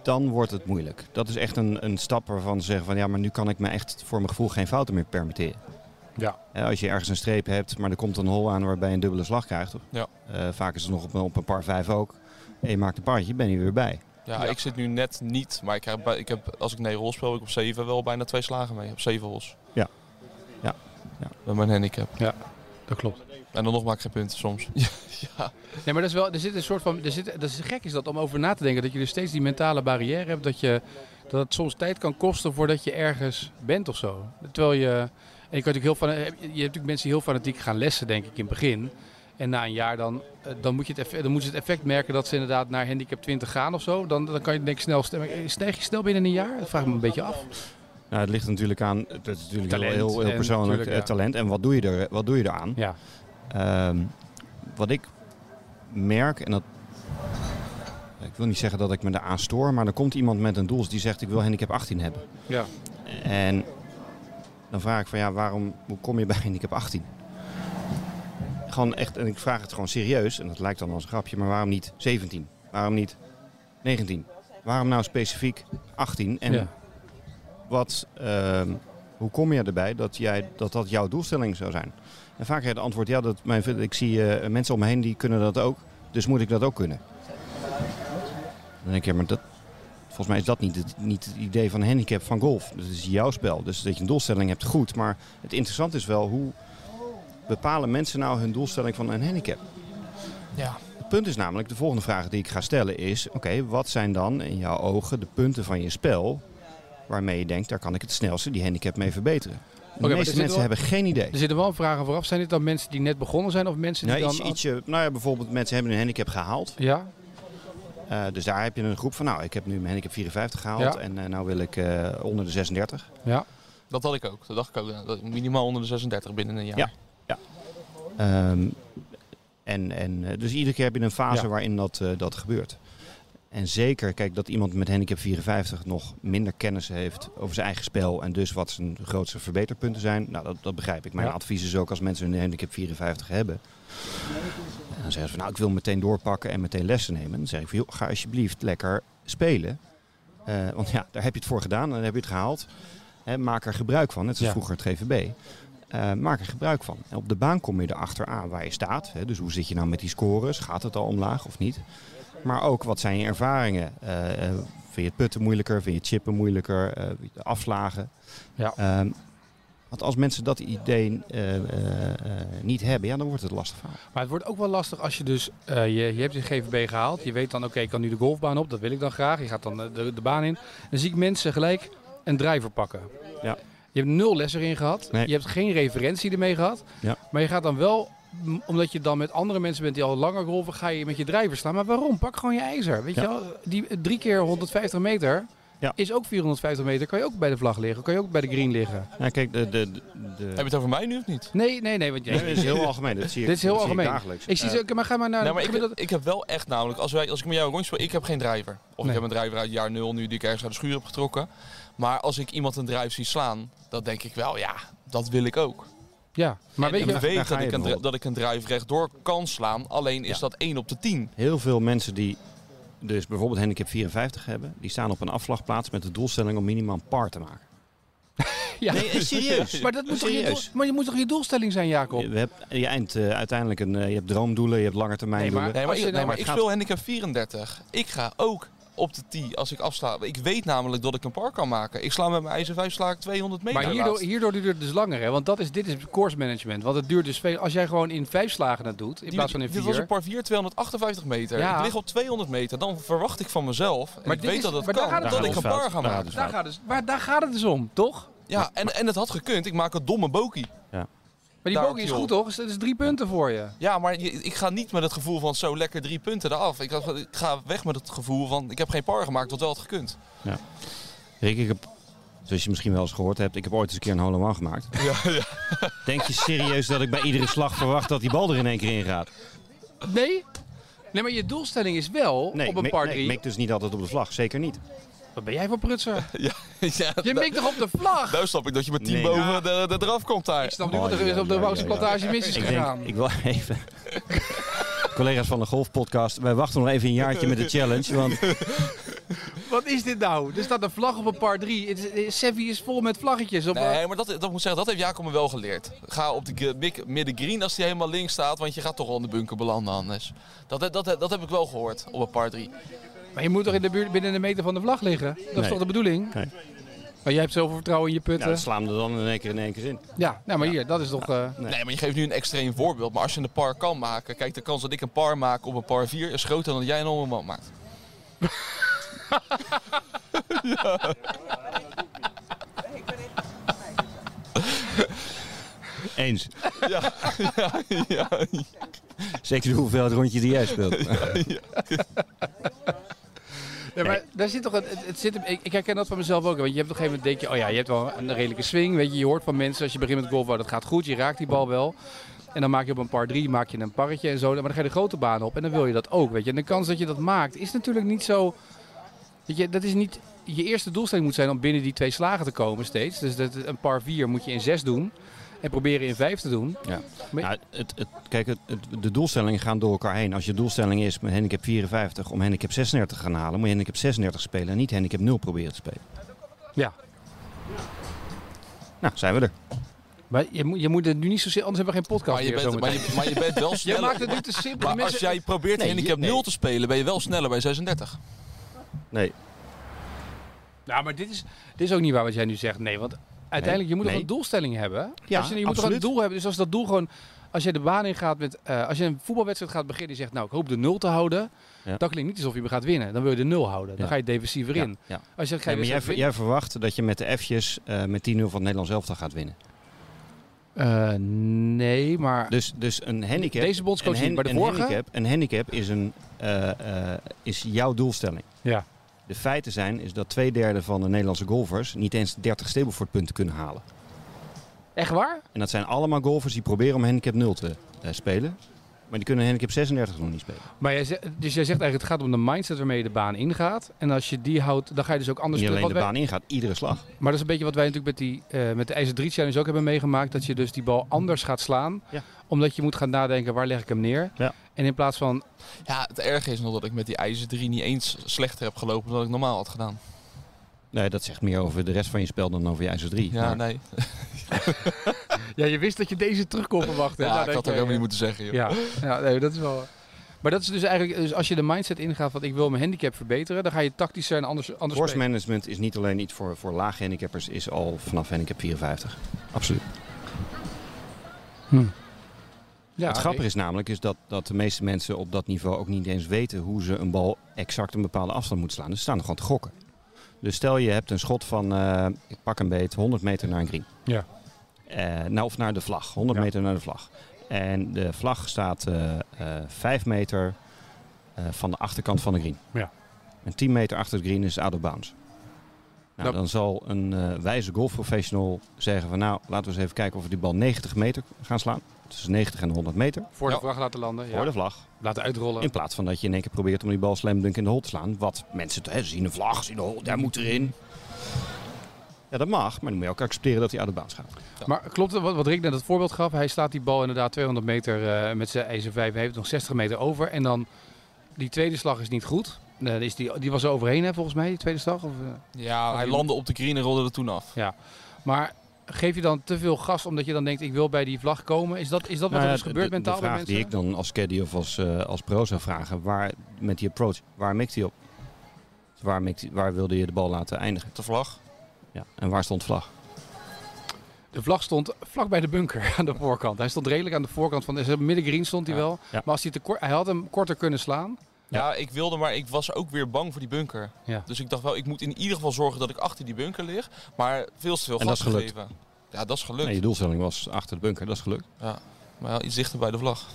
S2: dan wordt het moeilijk. Dat is echt een, een stap waarvan ze zeggen van ja, maar nu kan ik me echt voor mijn gevoel geen fouten meer permitteren.
S1: Ja.
S2: Hè, als je ergens een streep hebt, maar er komt een hol aan waarbij je een dubbele slag krijgt.
S3: Ja.
S2: eh, vaak is het nog op, een- op een paar vijf ook. En je maakt een paardje, ben je weer bij.
S3: Ja,
S1: Ja.
S3: ik zit nu net niet. Maar ik heb, bij- ik heb, als ik negen hols speel, heb ik op zeven wel bijna twee slagen mee. Op zeven hols.
S2: Ja. Ja. Ja.
S3: Met mijn handicap.
S1: Dat klopt.
S3: En dan nog maak ik geen punten
S2: [LAUGHS]
S3: soms.
S1: Nee, maar dat is wel, er zit een soort van. Er zit, dat is gek is dat om over na te denken. Dat je dus steeds die mentale barrière hebt. Dat, je, dat het soms tijd kan kosten voordat je ergens bent of zo. Terwijl je. En je, kan natuurlijk heel fan, je hebt natuurlijk mensen die heel fanatiek gaan lessen, denk ik, in het begin. En En na een jaar dan, eh, dan, moet je het eff- dan moeten ze het effect merken dat ze inderdaad naar handicap 20 gaan of zo. Dan, dan kan je denk ik snel stemmen. Stijg je snel binnen een jaar? Dat vraag ik me een beetje af.
S2: Nou, het ligt natuurlijk aan, het is natuurlijk
S1: Talent
S2: heel, heel,
S1: en
S2: persoonlijk
S1: natuurlijk,
S2: eh,
S1: ja.
S2: talent. En wat doe je, er, wat doe je eraan?
S1: Ja.
S2: Ehm, wat ik merk, en dat. Ik wil niet zeggen dat ik me daaraan stoor, maar dan komt iemand met een doel die zegt: Ik wil handicap 18 hebben.
S1: Ja.
S2: En dan vraag ik van ja, waarom hoe kom je bij handicap 18? Gewoon echt, en ik vraag het gewoon serieus, en dat lijkt dan als een grapje, maar waarom niet 17? Waarom niet 19? Waarom nou specifiek 18? En
S1: Ja.
S2: wat, ehm, hoe kom je erbij dat, jij, dat dat jouw doelstelling zou zijn? En vaak krijg je het antwoord, ja, dat mijn, ik zie eh, mensen om me heen die kunnen dat ook, dus moet ik dat ook kunnen? Dan denk ik, ja, maar dat, volgens mij is dat niet het, niet het idee van een handicap van golf. Dat is jouw spel, dus dat je een doelstelling hebt, goed. Maar het interessante is wel, hoe bepalen mensen nou hun doelstelling van een handicap?
S3: Ja.
S2: Het punt is namelijk, de volgende vraag die ik ga stellen is... Oké, wat zijn dan in jouw ogen de punten van je spel... waarmee je denkt, daar kan ik het snelste die handicap mee verbeteren? De
S1: maar er
S2: meeste
S1: zit
S2: mensen
S1: wel-
S2: hebben geen idee.
S1: Er zitten wel vragen vooraf. Zijn dit dan mensen die net begonnen zijn of mensen die
S2: Nou,
S1: dan...
S2: iets, ietsje, nou ja, bijvoorbeeld mensen hebben een handicap gehaald.
S1: Ja?
S2: Eh, dus daar heb je een groep van, nou, ik heb nu mijn handicap 54 gehaald...
S1: Ja.
S2: en eh, nou wil ik eh, onder de 36.
S1: Ja.
S3: Dat had ik ook. Dat dacht ik ook. ja, dat ik Minimaal onder de 36 binnen een jaar.
S2: Ja. Ehm, en, en, eh, dus iedere keer heb je een fase
S1: Ja.
S2: waarin dat, eh, dat gebeurt. En zeker, kijk, dat iemand met handicap 54 nog minder kennis heeft over zijn eigen spel en dus wat zijn grootste verbeterpunten zijn. Nou, dat, dat begrijp ik. Mijn
S1: Ja.
S2: advies is ook als mensen hun handicap 54 hebben. En dan zeggen ze van, nou, ik wil meteen doorpakken en meteen lessen nemen. Dan zeg ik van, joh, ga alsjeblieft lekker spelen. Eh, want ja, daar heb je het voor gedaan en dan heb je het gehaald. Hè, maak er gebruik van, net zoals
S1: Ja.
S2: vroeger het GVB. Eh, maak er gebruik van. En op de baan kom je erachter aan waar je staat. Hè, dus hoe zit je nou met die scores? Gaat het al omlaag of niet? Maar ook wat zijn je ervaringen? Eh, eh, vind je het putten moeilijker? Vind je het chippen moeilijker? Eh, de afslagen?
S1: Ja.
S2: Ehm, want als mensen dat idee eh, eh, eh, niet hebben, ja, dan wordt het lastig verhaal.
S1: Maar het wordt ook wel lastig als je dus, eh, je, je hebt je GVB gehaald. Je weet dan, oké, ik kan nu de golfbaan op, dat wil ik dan graag. Je gaat dan eh, de, de baan in. Dan zie ik mensen gelijk een drijver pakken.
S2: Ja.
S1: Je hebt nul les erin gehad.
S2: Nee.
S1: Je hebt geen referentie ermee gehad.
S2: Ja.
S1: Maar je gaat dan wel, m, omdat je dan met andere mensen bent die al langer golven, ga je met je drijver staan. Maar waarom? Pak gewoon je ijzer. Weet
S2: Ja.
S1: je wel, die eh, drie keer 150 meter
S2: Ja.
S1: is ook 450 meter. Kan je ook bij de vlag liggen, kan je ook bij de green liggen.
S2: Ja, kijk, de, de, de,
S3: Heb je het over mij nu of niet?
S1: Nee, nee, nee, want jij...
S2: Nee, dit is heel algemeen. Dat zie ik,
S1: Dit is heel
S2: dat zie ik
S1: algemeen.
S2: dagelijks.
S1: Ik zie
S2: Eh,
S1: ze, oké, maar ga maar naar...
S3: nee, maar
S1: gemiddelde-
S3: ik, ik heb wel echt namelijk, als, wij, als ik met jou rondspeel, ik heb geen drijver. Of
S1: Nee.
S3: ik heb een drijver uit jaar nul nu die ik ergens uit de schuur heb getrokken. Maar als ik iemand een drijf zie slaan, dan denk ik wel, ja, dat wil ik ook.
S1: Ja, maar weet
S3: en
S1: je...
S3: ik
S2: daar
S3: weet
S2: ga
S3: dat
S2: je
S3: ik, een, dri-
S2: bijvoorbeeld.
S3: dat ik een drijf rechtdoor kan slaan, alleen is
S2: Ja.
S3: dat 1 op de 10.
S2: heel veel mensen die dus bijvoorbeeld handicap 54 hebben, die staan op een afslagplaats met de doelstelling om minimaal een par te maken.
S1: Ja.
S2: Nee, eh,
S1: [LAUGHS]
S2: serieus.
S1: Maar dat moet toch je,
S2: Serieus.
S1: doel- maar je moet toch je doelstelling zijn, Jacob?
S2: Je, we hebt, je eind eh, uiteindelijk een, eh, je hebt droomdoelen, je hebt langetermijndoelen.
S1: Nee,
S3: Nee, maar,
S1: Als
S3: ik,
S1: je nou-
S3: nee, maar ik
S2: het gaat-
S3: speel handicap 34. Ik ga ook op de tee als ik afsla. Ik weet namelijk dat ik een par kan maken. Ik sla met mijn ijzer 5 sla ik 200 meter.
S1: Maar hierdoor, hierdoor duurt het dus langer, hè? Want dat is, dit is course management. Want het duurt dus veel... Als jij gewoon in vijf slagen dat doet, in
S3: Die-
S1: plaats van in
S3: Dit was een
S1: vier...
S3: par 4, 258 meter.
S1: Ja.
S3: Ik lig op 200 meter. Dan verwacht ik van mezelf, en
S1: Maar
S3: ik
S1: dit
S3: weet
S1: is-
S3: dat dat
S1: maar daar
S3: kan,
S1: gaat het
S3: dat
S1: om.
S3: ik een par ga
S2: Daar
S3: maken.
S2: gaat
S1: Daar gaat, dus, maar daar gaat het dus om, toch?
S3: Ja, en, en het had gekund. Ik maak een domme bokie.
S1: Maar die
S3: Daar,
S1: bogey is
S3: joh.
S1: goed, toch? Dus Dat is drie punten voor je.
S3: Ja, maar je- ik ga niet met het gevoel van zo lekker drie punten eraf. Ik, ga- ik ga weg met het gevoel van ik heb geen par gemaakt, wat wel had
S1: [LAUGHS]
S3: gekund.
S2: Rick, ik heb, zoals je misschien wel eens gehoord hebt, ik heb ooit eens een keer een hole
S1: [LAUGHS]
S2: in gemaakt. Denk je serieus dat ik bij iedere slag verwacht dat die bal er in één keer in gaat?
S1: Nee? Nee, maar je doelstelling is wel
S2: Nee,
S1: op een
S2: mik-
S1: par
S2: nee,
S1: drie...
S2: mik dus niet altijd op de vlag. Zeker niet.
S1: Wat ben jij voor
S2: [LAUGHS]
S1: prutser?
S3: [LAUGHS] ja,
S1: Je
S3: da-
S1: mikt toch op de vlag?
S3: nou snap ik dat je met 10
S2: Nee.
S3: boven de, de, eraf komt daar.
S1: Ik snap nu wat
S2: Oh,
S1: er is
S2: ja,
S1: op de
S2: ja,
S1: Wouwse
S2: ja, ja.
S1: plantage mis is
S2: Ik
S1: gegaan.
S2: denk, ik wil even. [LAUGHS] Collega's van de Golfpodcast, wij wachten nog even een jaartje met de challenge.
S1: [LAUGHS]
S2: Want
S1: Wat is dit nou? Er staat een vlag op een par drie. Het is- Sevi is vol met vlaggetjes. Op
S3: Nee, maar dat, dat moet ik zeggen, dat heeft Jacob me wel geleerd. Ga op de gr- mik- midden green als die helemaal links staat, want je gaat toch al in de bunker belanden anders. Dat, dat, dat, dat heb ik wel gehoord op een par 3.
S1: Maar je moet toch in de buurt binnen een meter van de vlag liggen? Dat is
S2: Nee.
S1: toch de bedoeling?
S2: Nee.
S1: Maar jij hebt zoveel vertrouwen in je putten.
S2: nou,
S1: Ja,
S2: slaan we er dan in één keer in één keer in.
S1: nou, maar hier, dat is toch... eh,
S2: Nee.
S3: Nee. maar je geeft nu een extreem voorbeeld. Maar als je een par kan maken, kijk, de kans dat ik een par maak op een par 4 is groter dan dat jij een allemaal maakt.
S2: Eens.
S1: [LAUGHS]
S3: Ja, ja, ja.
S2: Zeker de hoeveelheid rondjes die jij speelt.
S1: Ja, maar daar zit toch een, het, het zit, hem- ik, ik herken dat van mezelf ook. Want je hebt op een gegeven moment denk je, oh ja, je hebt wel een redelijke swing. Weet je, je hoort van mensen als je begint met golf, oh, dat gaat goed, je raakt die bal wel. En dan maak je op een par 3 maak je een parretje en zo. Maar dan ga je de grote baan op en dan wil je dat ook. Weet je. En de kans dat je dat maakt is natuurlijk niet zo. Weet je, dat is niet. Je eerste doelstelling moet zijn om binnen die twee slagen te komen steeds. Dus dat, een par 4 moet je in 6 doen. En proberen in 5 te doen.
S2: Nou, het, het, kijk, het, het- de doelstellingen gaan door elkaar heen. Als je doelstelling is met handicap 54 om handicap 36 te gaan halen, moet je handicap 36 spelen en niet handicap 0 proberen te spelen.
S1: Ja.
S2: Nou, zijn we er.
S1: Maar je moet, je moet het nu niet zozeer, anders hebben we geen podcast
S3: Maar je
S1: meer
S3: bent,
S1: zometeen.
S3: maar je, maar [LAUGHS] je bent wel
S1: Jij
S3: sneller.
S1: maakt het nu te simpel. Die
S3: maar als
S1: mensen-
S3: jij probeert
S2: Nee,
S3: handicap
S2: nee.
S3: 0 te spelen, ben je wel sneller bij 36.
S2: Nee.
S1: Nou, maar dit is, dit is ook niet waar wat jij nu zegt. Nee, want uiteindelijk, je moet
S2: nee.
S1: toch een doelstelling hebben?
S2: Ja,
S1: als je, je moet toch een
S2: absoluut.
S1: doel hebben? Dus als dat doel gewoon... Als je de baan in gaat met... eh, als je een voetbalwedstrijd gaat beginnen en je zegt... Nou, ik hoop de nul te houden.
S2: Ja.
S1: Dat klinkt niet alsof je gaat winnen. Dan wil je de nul houden. Dan
S2: Ja.
S1: ga je defensiever in.
S2: Ja, ja.
S1: Als je, zegt, ga
S2: Ja,
S1: je
S2: maar jij,
S1: wedstrijd
S2: ver- jij verwacht dat je met de F'jes eh, met 10-0 van het Nederlands elftal gaat winnen.
S1: winnen- Eh, nee, maar...
S2: Dus, dus een handicap.
S1: Deze bondscoach
S2: een
S1: niet, maar de
S2: een
S1: vorige?
S2: Handicap, een handicap is, een, eh, eh, is jouw doelstelling.
S1: Ja.
S2: De feiten zijn is dat twee derde van de Nederlandse golfers niet eens 30 Stableford punten kunnen halen.
S1: Echt waar?
S2: En dat zijn allemaal golfers die proberen om handicap 0 te eh, spelen. Maar die kunnen handicap 36 nog niet spelen.
S1: Maar jij zegt, dus jij zegt eigenlijk... Het gaat om de mindset waarmee je de baan ingaat. En als je die houdt, dan ga je dus ook anders...
S2: niet alleen de
S1: spelen. Wat wij-
S2: baan ingaat, iedere slag.
S1: Maar dat is een beetje wat wij natuurlijk met, die, eh, met de IJzer 3 Challenge ook hebben meegemaakt. Dat je dus die bal anders gaat slaan.
S2: Ja.
S1: Omdat je moet gaan nadenken, waar leg ik hem neer?
S2: Ja.
S1: En in plaats van,
S3: Ja, het erge is nog dat ik met die ijzer 3 niet eens slechter heb gelopen dan ik normaal had gedaan.
S2: Nee, dat zegt meer over de rest van je spel dan over je ijzer 3.
S3: Ja, nee.
S1: ja, je wist dat je deze terug kon verwachten. hè?
S3: Ja,
S1: Nou,
S3: ik had
S1: dat
S3: ook
S1: je-
S3: helemaal niet moeten zeggen, joh.
S1: Ja, ja nee, dat is wel... Maar dat is dus eigenlijk, dus als je de mindset ingaat van ik wil mijn handicap verbeteren, dan ga je tactischer en anders, anders
S2: Course
S1: spelen.
S2: management is niet alleen iets voor, voor laag handicappers, is al vanaf handicap 54. Absoluut.
S1: Hm. Ja,
S2: het grappige is namelijk is dat, dat de meeste mensen op dat niveau ook niet eens weten hoe ze een bal exact een bepaalde afstand moeten slaan. Dus ze staan er gewoon te gokken. Dus stel je hebt een schot van, eh, ik pak een beet, 100 meter naar een green.
S1: Ja.
S2: Eh, nou, of naar de vlag, 100
S1: Ja.
S2: meter naar de vlag. En de vlag staat eh eh 5 meter eh, van de achterkant van de green.
S1: Ja.
S2: En 10 meter achter de green is out of bounds. Nou,
S1: Nou-
S2: dan zal een eh, wijze golfprofessional zeggen van nou, laten we eens even kijken of we die bal 90 meter gaan slaan. Tussen 90 en 100 meter
S1: Voor de
S3: Ja.
S1: vracht laten landen, ja.
S2: voor de vlag.
S1: laten uitrollen.
S2: In plaats van dat je in één keer probeert om die bal slam dunk in de hol te slaan. Wat mensen te- hè, ze zien een vlag, zien de hol, daar moet erin. Ja, dat mag, maar dan moet je ook accepteren dat hij uit de baas gaat.
S1: Maar klopt het, wat, wat Rick net het voorbeeld gaf? Hij slaat die bal inderdaad 200 meter eh, met zijn ijzer 5, heeft nog 60 meter over. En dan, die tweede slag is niet goed. Eh, is die, die was er overheen hè, volgens mij, die tweede slag. Of, eh?
S3: Ja, hij landde op de green en rolde er toen af.
S1: Maar geef je dan te veel gas omdat je dan denkt, ik wil bij die vlag komen? Is dat, is dat wat
S2: Nou
S1: er
S2: ja,
S1: is gebeurd
S2: de,
S1: mentaal
S2: de
S1: bij
S2: vraag
S1: mensen?
S2: die ik dan als caddy of als, eh, als pro zou vragen, waar, met die approach, waar mikt hij op? Waar, mikt hij- waar wilde je de bal laten eindigen?
S3: De vlag.
S2: Ja. En waar stond vlag?
S1: De vlag stond vlak bij de bunker [LAUGHS] aan de voorkant. Hij stond redelijk aan de voorkant van de midden green stond hij
S2: Ja,
S1: wel.
S2: ja.
S1: Maar als hij, te kort, hij had hem korter kunnen slaan.
S3: Ja. ik wilde, maar ik was ook weer bang voor die bunker.
S1: Ja.
S3: Dus ik dacht wel, ik moet in ieder geval zorgen dat ik achter die bunker lig. Maar veel te veel
S2: En
S3: gas
S2: dat is gelukt.
S3: gegeven. Ja, dat is gelukt.
S2: Nee, je doelstelling was achter de bunker, dat is gelukt.
S3: Maar wel iets dichter bij de vlag.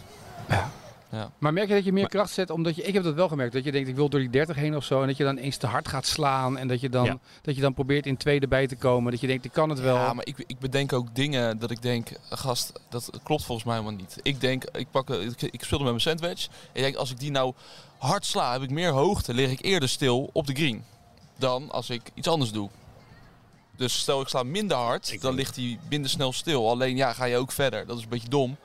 S1: Maar merk je dat je meer
S2: Maar-
S1: kracht zet omdat je, ik heb dat wel gemerkt, dat je denkt ik wil door die 30 heen of zo. En dat je dan eens te hard gaat slaan en dat je dan,
S2: Ja.
S1: dat je dan probeert in tweede bij te komen. Dat je denkt ik kan het wel.
S3: Ja, maar ik, ik bedenk ook dingen dat ik denk, gast, dat klopt volgens mij helemaal niet. Ik denk, ik, pak, eh, ik, ik speelde met mijn sandwich. En ik denk, als ik die nou hard sla, heb ik meer hoogte, lig ik eerder stil op de green. Dan als ik iets anders doe. Dus stel ik sla minder hard, dan ligt hij minder snel stil. Alleen ja, ga je ook verder. Dat is een beetje dom.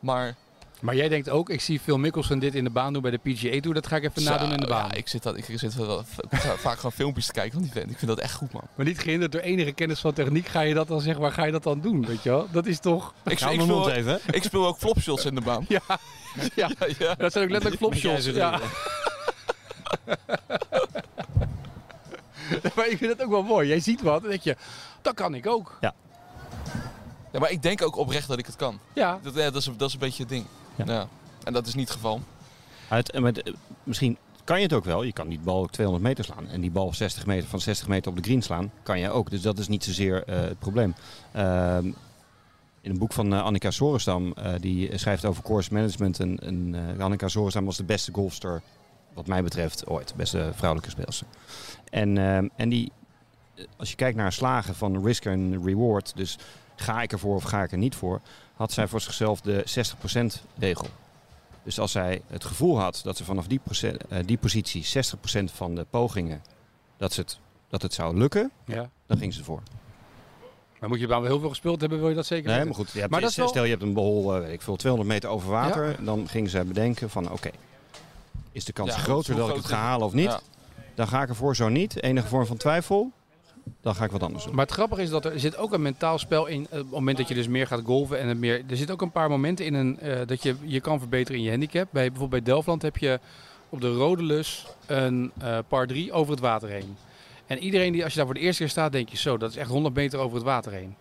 S3: Maar
S1: Maar jij denkt ook, ik zie Phil Mickelson dit in de baan doen bij de PGA Tour. Dat ga ik even nadoen in de
S3: Zo,
S1: baan.
S3: Ja, ik zit, dat, ik, zit wel, ik ga [LAUGHS] vaak gewoon filmpjes te kijken van die vent. Ik vind dat echt goed, man.
S1: Maar niet gehinderd door enige kennis van techniek ga je dat dan zeg maar, ga je dat dan doen, weet je wel? Dat is toch...
S3: Ik,
S2: Hou
S3: ik,
S2: mijn mond
S3: speel,
S2: even. hè.
S3: ik speel ook flopshots in de baan.
S1: [LAUGHS] Ja, ja.
S3: ja.
S1: Dat zijn ook letterlijk
S2: [LAUGHS]
S1: flopshots. [LAUGHS] Ja. [LAUGHS] maar ik vind het ook wel mooi. Jij ziet wat en denk je, dat kan ik ook.
S3: Ja, maar ik denk ook oprecht dat ik het kan.
S1: Ja,
S3: Dat, ja, dat, is, dat is een beetje het ding.
S2: Ja.
S3: Ja. En dat is niet het geval.
S2: Uit, en met, eh, misschien kan je het ook wel. Je kan die bal ook 200 meter slaan. En die bal 60 meter, van 60 meter op de green slaan, kan je ook. Dus dat is niet zozeer eh, het probleem. Ehm, In een boek van eh, Annika Sorenstam, eh, die schrijft over course management. En, en, eh, Annika Sorenstam was de beste golfster, wat mij betreft, ooit. De beste vrouwelijke speelster. En, eh, en die, eh, als je kijkt naar haar slagen van risk en reward, dus ga ik ervoor of ga ik er niet voor, had zij voor zichzelf de 60% regel. Dus als zij het gevoel had dat ze vanaf die, procent- eh, die positie 60% van de pogingen, dat, ze het, dat het zou lukken,
S1: Ja.
S2: dan ging ze ervoor.
S1: Maar moet je baan wel heel veel gespeeld hebben, wil je dat zeker
S2: Nee,
S1: weten?
S2: maar goed. Je hebt,
S1: Maar dat is wel-
S2: Stel je hebt een bol, eh, weet ik veel, 200 meter over water. Dan gingen zij bedenken van oké, is de kans
S3: Ja,
S2: groter
S3: hoe
S2: dat ik het
S3: groot
S2: ga
S3: is-
S2: halen of niet?
S3: Ja.
S2: Dan ga ik ervoor zo niet. Enige vorm van twijfel, dan ga ik wat anders doen.
S1: Maar het grappige is dat er zit ook een mentaal spel in. eh, Op het moment dat je dus meer gaat golven en het meer. Er zit ook een paar momenten in een, eh, dat je je kan verbeteren in je handicap. Bij, bijvoorbeeld bij Delftland heb je op de Rode Lus een eh par 3 over het water heen. En iedereen die als je daar voor de eerste keer staat, denk je zo, dat is echt 100 meter over het water heen.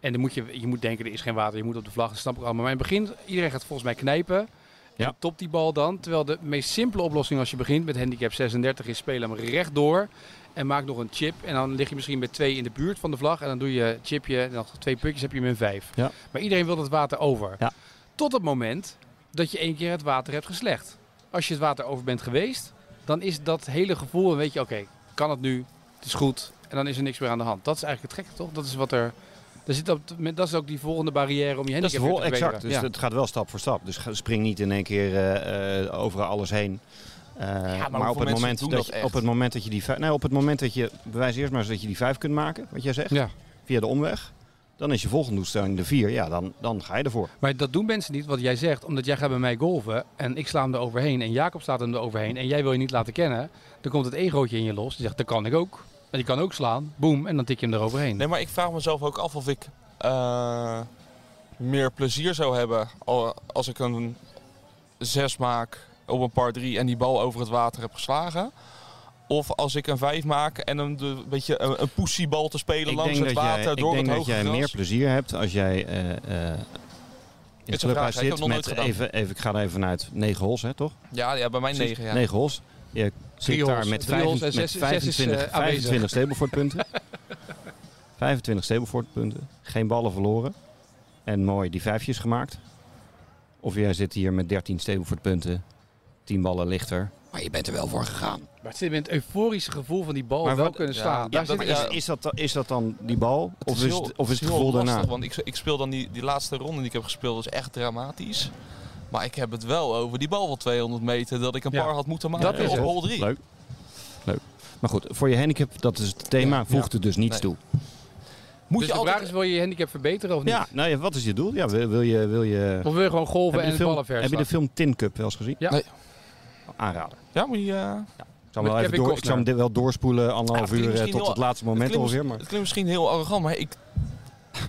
S1: En dan moet je, je moet denken, er is geen water, je moet op de vlag, dat snap ik allemaal. Maar in het begin, iedereen gaat volgens mij knijpen.
S2: Ja.
S1: Ja. Top die bal dan. Terwijl de meest simpele oplossing als je begint met handicap 36 is spelen hem rechtdoor. En maak nog een chip. En dan lig je misschien met twee in de buurt van de vlag. En dan doe je chipje. En dan twee putjes heb je min vijf.
S2: Ja.
S1: Maar iedereen wil het water over.
S2: Ja.
S1: Tot het moment dat je één keer het water hebt geslecht. Als je het water over bent geweest, dan is dat hele gevoel. En weet je, oké, kan het nu? Het is goed. En dan is er niks meer aan de hand. Dat is eigenlijk het gekke, toch? Dat is wat er. er zit op, dat is ook die volgende barrière om je
S2: Dat is
S1: handicap
S2: de
S1: weer
S2: vol,
S1: te verbeteren.
S2: exact. Dus
S1: Ja.
S2: het gaat wel stap voor stap. Dus ga- spring niet in één keer eh, eh, over alles heen. Eh, maar
S3: hoeveel
S2: op het,
S3: mensen
S2: moment
S3: doen
S2: dat
S3: dat
S2: je,
S3: echt?
S2: op het moment dat je die vijf, nee, op het moment dat je bewijs eerst maar eens dat je die vijf kunt maken, wat jij zegt,
S1: Ja.
S2: via de omweg, dan is je volgende doelstelling de vier. Ja, dan, dan ga je ervoor.
S1: Maar dat doen mensen niet, wat jij zegt, omdat jij gaat bij mij golven en ik sla hem er overheen en Jacob slaat hem er overheen en jij wil je niet laten kennen. Dan komt het egootje in je los. Die zegt, dat kan ik ook. En die kan ook slaan. Boom. En dan tik je hem eroverheen.
S3: Nee, maar ik vraag mezelf ook af of ik eh, meer plezier zou hebben al- als ik een 6 maak op een par 3 en die bal over het water heb geslagen. Of als ik een 5 maak en een, de, beetje een, een poesiebal te spelen langs het water
S2: jij,
S3: door
S2: ik denk
S3: het
S2: dat
S3: hoge
S2: jij
S3: gras.
S2: meer plezier hebt als jij eh, eh, in
S3: een
S2: het
S3: vraag,
S2: clubhuis
S3: hè? Ik heb
S2: zit
S3: nog nooit
S2: met
S3: gedaan.
S2: even, even, ik ga er even vanuit, negen hols, hè, toch?
S3: ja, ja, bij mij 9. Ja.
S2: Negen hols. Je zit
S1: hols.
S2: daar met,
S1: Drie hols en
S2: vijfent-
S1: zes-
S2: met
S1: zes is, eh,
S2: 25,
S1: aanwezig.
S2: 25 stablefordpunten. 25 stablefordpunten. Geen ballen verloren. En mooi die vijfjes gemaakt. Of jij zit hier met 13 stablefordpunten. 10 ballen lichter. Maar je bent er wel voor gegaan.
S1: Maar het zit met het euforische gevoel van die bal
S2: Maar
S1: wel
S2: wat-
S1: kunnen
S3: ja,
S1: slaan.
S3: ja,
S1: Daar
S3: dat-
S1: zit
S3: maar
S1: het-
S2: Is, is, dat, dan- is dat dan die bal?
S3: Het
S2: Of is,
S3: heel-
S2: het, of is het
S3: heel
S2: gevoel
S3: lastig,
S2: daarna?
S3: Want ik, ik speel dan die, die laatste ronde die ik heb gespeeld, dat is echt dramatisch. Maar ik heb het wel over die bal van 200 meter dat ik een
S1: Ja.
S3: par had moeten maken
S1: Dat is
S3: op
S1: het.
S3: hol 3.
S2: Leuk. Leuk. Maar goed, voor je handicap, dat is het thema,
S3: Ja.
S2: voegt het dus niets
S3: Nee.
S2: toe.
S3: Moet
S1: dus
S3: je
S1: de
S3: altijd
S1: vraag is, wil je je handicap verbeteren of niet?
S2: Ja, nou ja, wat is je doel? Ja, wil, wil je... Wil je
S1: Of wil je gewoon golven en
S2: de
S1: de
S2: film,
S1: ballen
S2: heb je de
S1: verslaan?
S2: film Tin Cup wel eens gezien?
S1: Ja.
S3: Nee.
S2: Aanrader.
S3: Ja, moet je, eh,
S2: Ik zal,
S1: Met
S2: hem wel even
S1: Kevin
S2: door, ik zal
S1: Costner.
S2: hem dit wel doorspoelen, anderhalf
S3: Ja, het
S2: uur
S3: klinkt
S2: eh,
S3: misschien
S2: tot het
S3: heel-
S2: laatste
S3: het,
S2: moment
S3: klinkt,
S2: alweer.
S3: mis-
S2: Maar
S3: het klinkt misschien heel arrogant, maar ik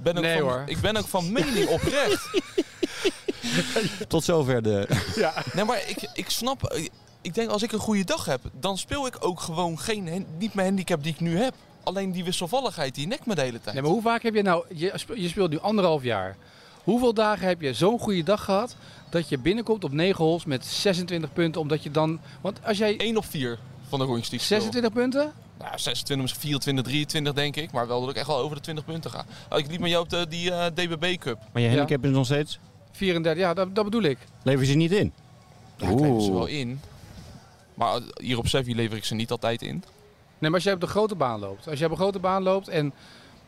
S3: ben ook,
S1: Nee,
S3: van,
S1: hoor.
S3: Ik ben ook
S2: [LAUGHS]
S3: van mening oprecht.
S2: tot zover de...
S3: Nee, maar ik, ik snap... Ik denk, als ik een goede dag heb, dan speel ik ook gewoon geen, hen- niet mijn handicap die ik nu heb. Alleen die wisselvalligheid, die nekt me de hele tijd.
S1: Nee, maar hoe vaak heb je nou, je, sp- je speelt nu anderhalf jaar. Hoeveel dagen heb je zo'n goede dag gehad dat je binnenkomt op 9 holes met 26 punten? Omdat je dan, want als jij
S3: 1 op 4 van de rondjes die ik speel.
S1: 26 punten,
S3: Nou, 26, misschien 24, 23 denk ik. Maar wel dat ik echt wel over de 20 punten ga. Oh, ik liep met jou op de, die eh, DBB Cup.
S2: [LAUGHS] Maar je
S1: Ja.
S2: handicap is nog steeds...
S1: 34, ja, dat, dat bedoel ik.
S2: Lever je ze niet in.
S3: Ja, ik lever ze wel in. Maar eh, hier op Sevi lever ik ze niet altijd in.
S1: Nee, maar als jij op de grote baan loopt. Als jij op een grote baan loopt en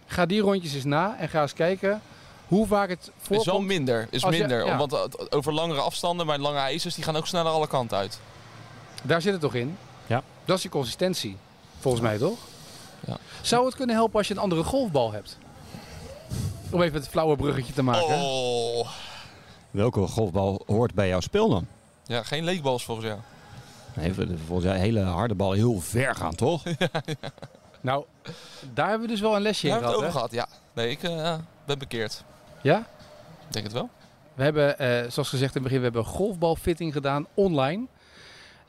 S1: ga die rondjes eens na en ga eens kijken hoe vaak het
S3: Is wel
S1: voorkomt.
S3: minder, is
S1: Als je-
S3: minder.
S1: ja.
S3: Want eh, over langere afstanden, mijn lange ijzers, die gaan ook sneller alle kanten uit.
S1: Daar zit het toch in?
S2: Ja.
S1: Dat is je consistentie, volgens mij toch?
S3: Ja.
S1: Zou het kunnen helpen als je een andere golfbal hebt? Om even het flauwe bruggetje te maken.
S3: Oh.
S2: Welke golfbal hoort bij jouw spel dan?
S3: Ja, geen leekbals volgens jou.
S2: Nee, volgens jou hele harde bal heel ver gaan, [LAUGHS] toch?
S1: Nou, daar hebben we dus wel een lesje
S3: Daar
S1: in
S3: hebben we het
S1: gehad.
S3: over
S1: Hè?
S3: gehad, ja. Nee, ik eh, ben bekeerd.
S1: Ja?
S3: Ik denk het wel.
S1: We hebben, eh, zoals gezegd in het begin, we hebben een golfbalfitting gedaan online.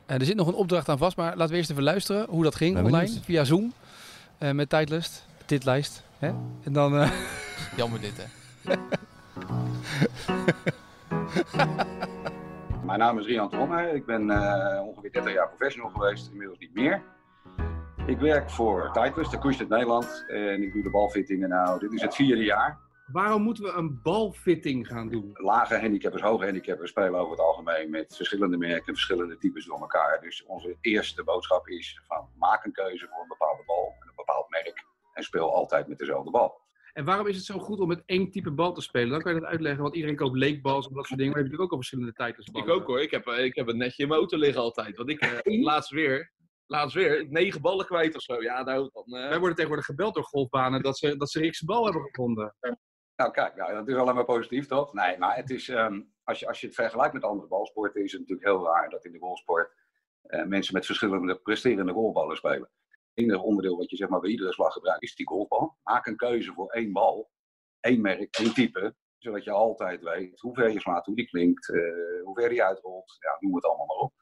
S1: Eh, er zit nog een opdracht aan vast, maar laten we eerst even luisteren hoe dat ging
S2: Ben
S1: online
S2: benieuwd.
S1: via Zoom. eh, met tijdlist, titlijst. Hè? En dan. eh, [LAUGHS]
S3: Jammer dit, hè.
S7: Mijn naam is Rian Tromme. Ik ben eh, ongeveer 30 jaar professional geweest, inmiddels niet meer. Ik werk voor Tijdlust, de Koers uit Nederland. En ik doe de balfittingen nou, dit is het vierde jaar.
S4: Waarom moeten we een balfitting gaan doen?
S7: Lage handicappers, hoge handicappers spelen over het algemeen met verschillende merken, verschillende types door elkaar. Dus onze eerste boodschap is van maak een keuze voor een bepaalde bal en een bepaald merk. En speel altijd met dezelfde bal.
S4: En waarom is het zo goed om met één type bal te spelen? Dan kan je dat uitleggen, want iedereen koopt leekbals en dat soort dingen. Maar je hebt natuurlijk ook al verschillende tijdensballen.
S8: Ik ook hoor. Ik heb, eh, ik heb een netje in mijn auto liggen altijd. Want ik eh, laatst weer, laatst weer, negen ballen kwijt of zo. Ja, nou, dan, eh,
S4: Wij worden tegenwoordig gebeld door golfbanen dat ze, dat ze Rickse bal hebben gevonden.
S7: Nou, kijk, nou, dat is alleen maar positief, toch? Nee, maar het is, ehm, als, je, als je het vergelijkt met andere balsporten, is het natuurlijk heel raar dat in de rolsport eh, mensen met verschillende presterende rolballen spelen. Het enige onderdeel wat je zeg maar, bij iedere slag gebruikt is die golfbal. Maak een keuze voor één bal, één merk, één type, zodat je altijd weet hoe ver je slaat, hoe die klinkt, eh, hoe ver die uitrolt. Ja, noem het allemaal maar op.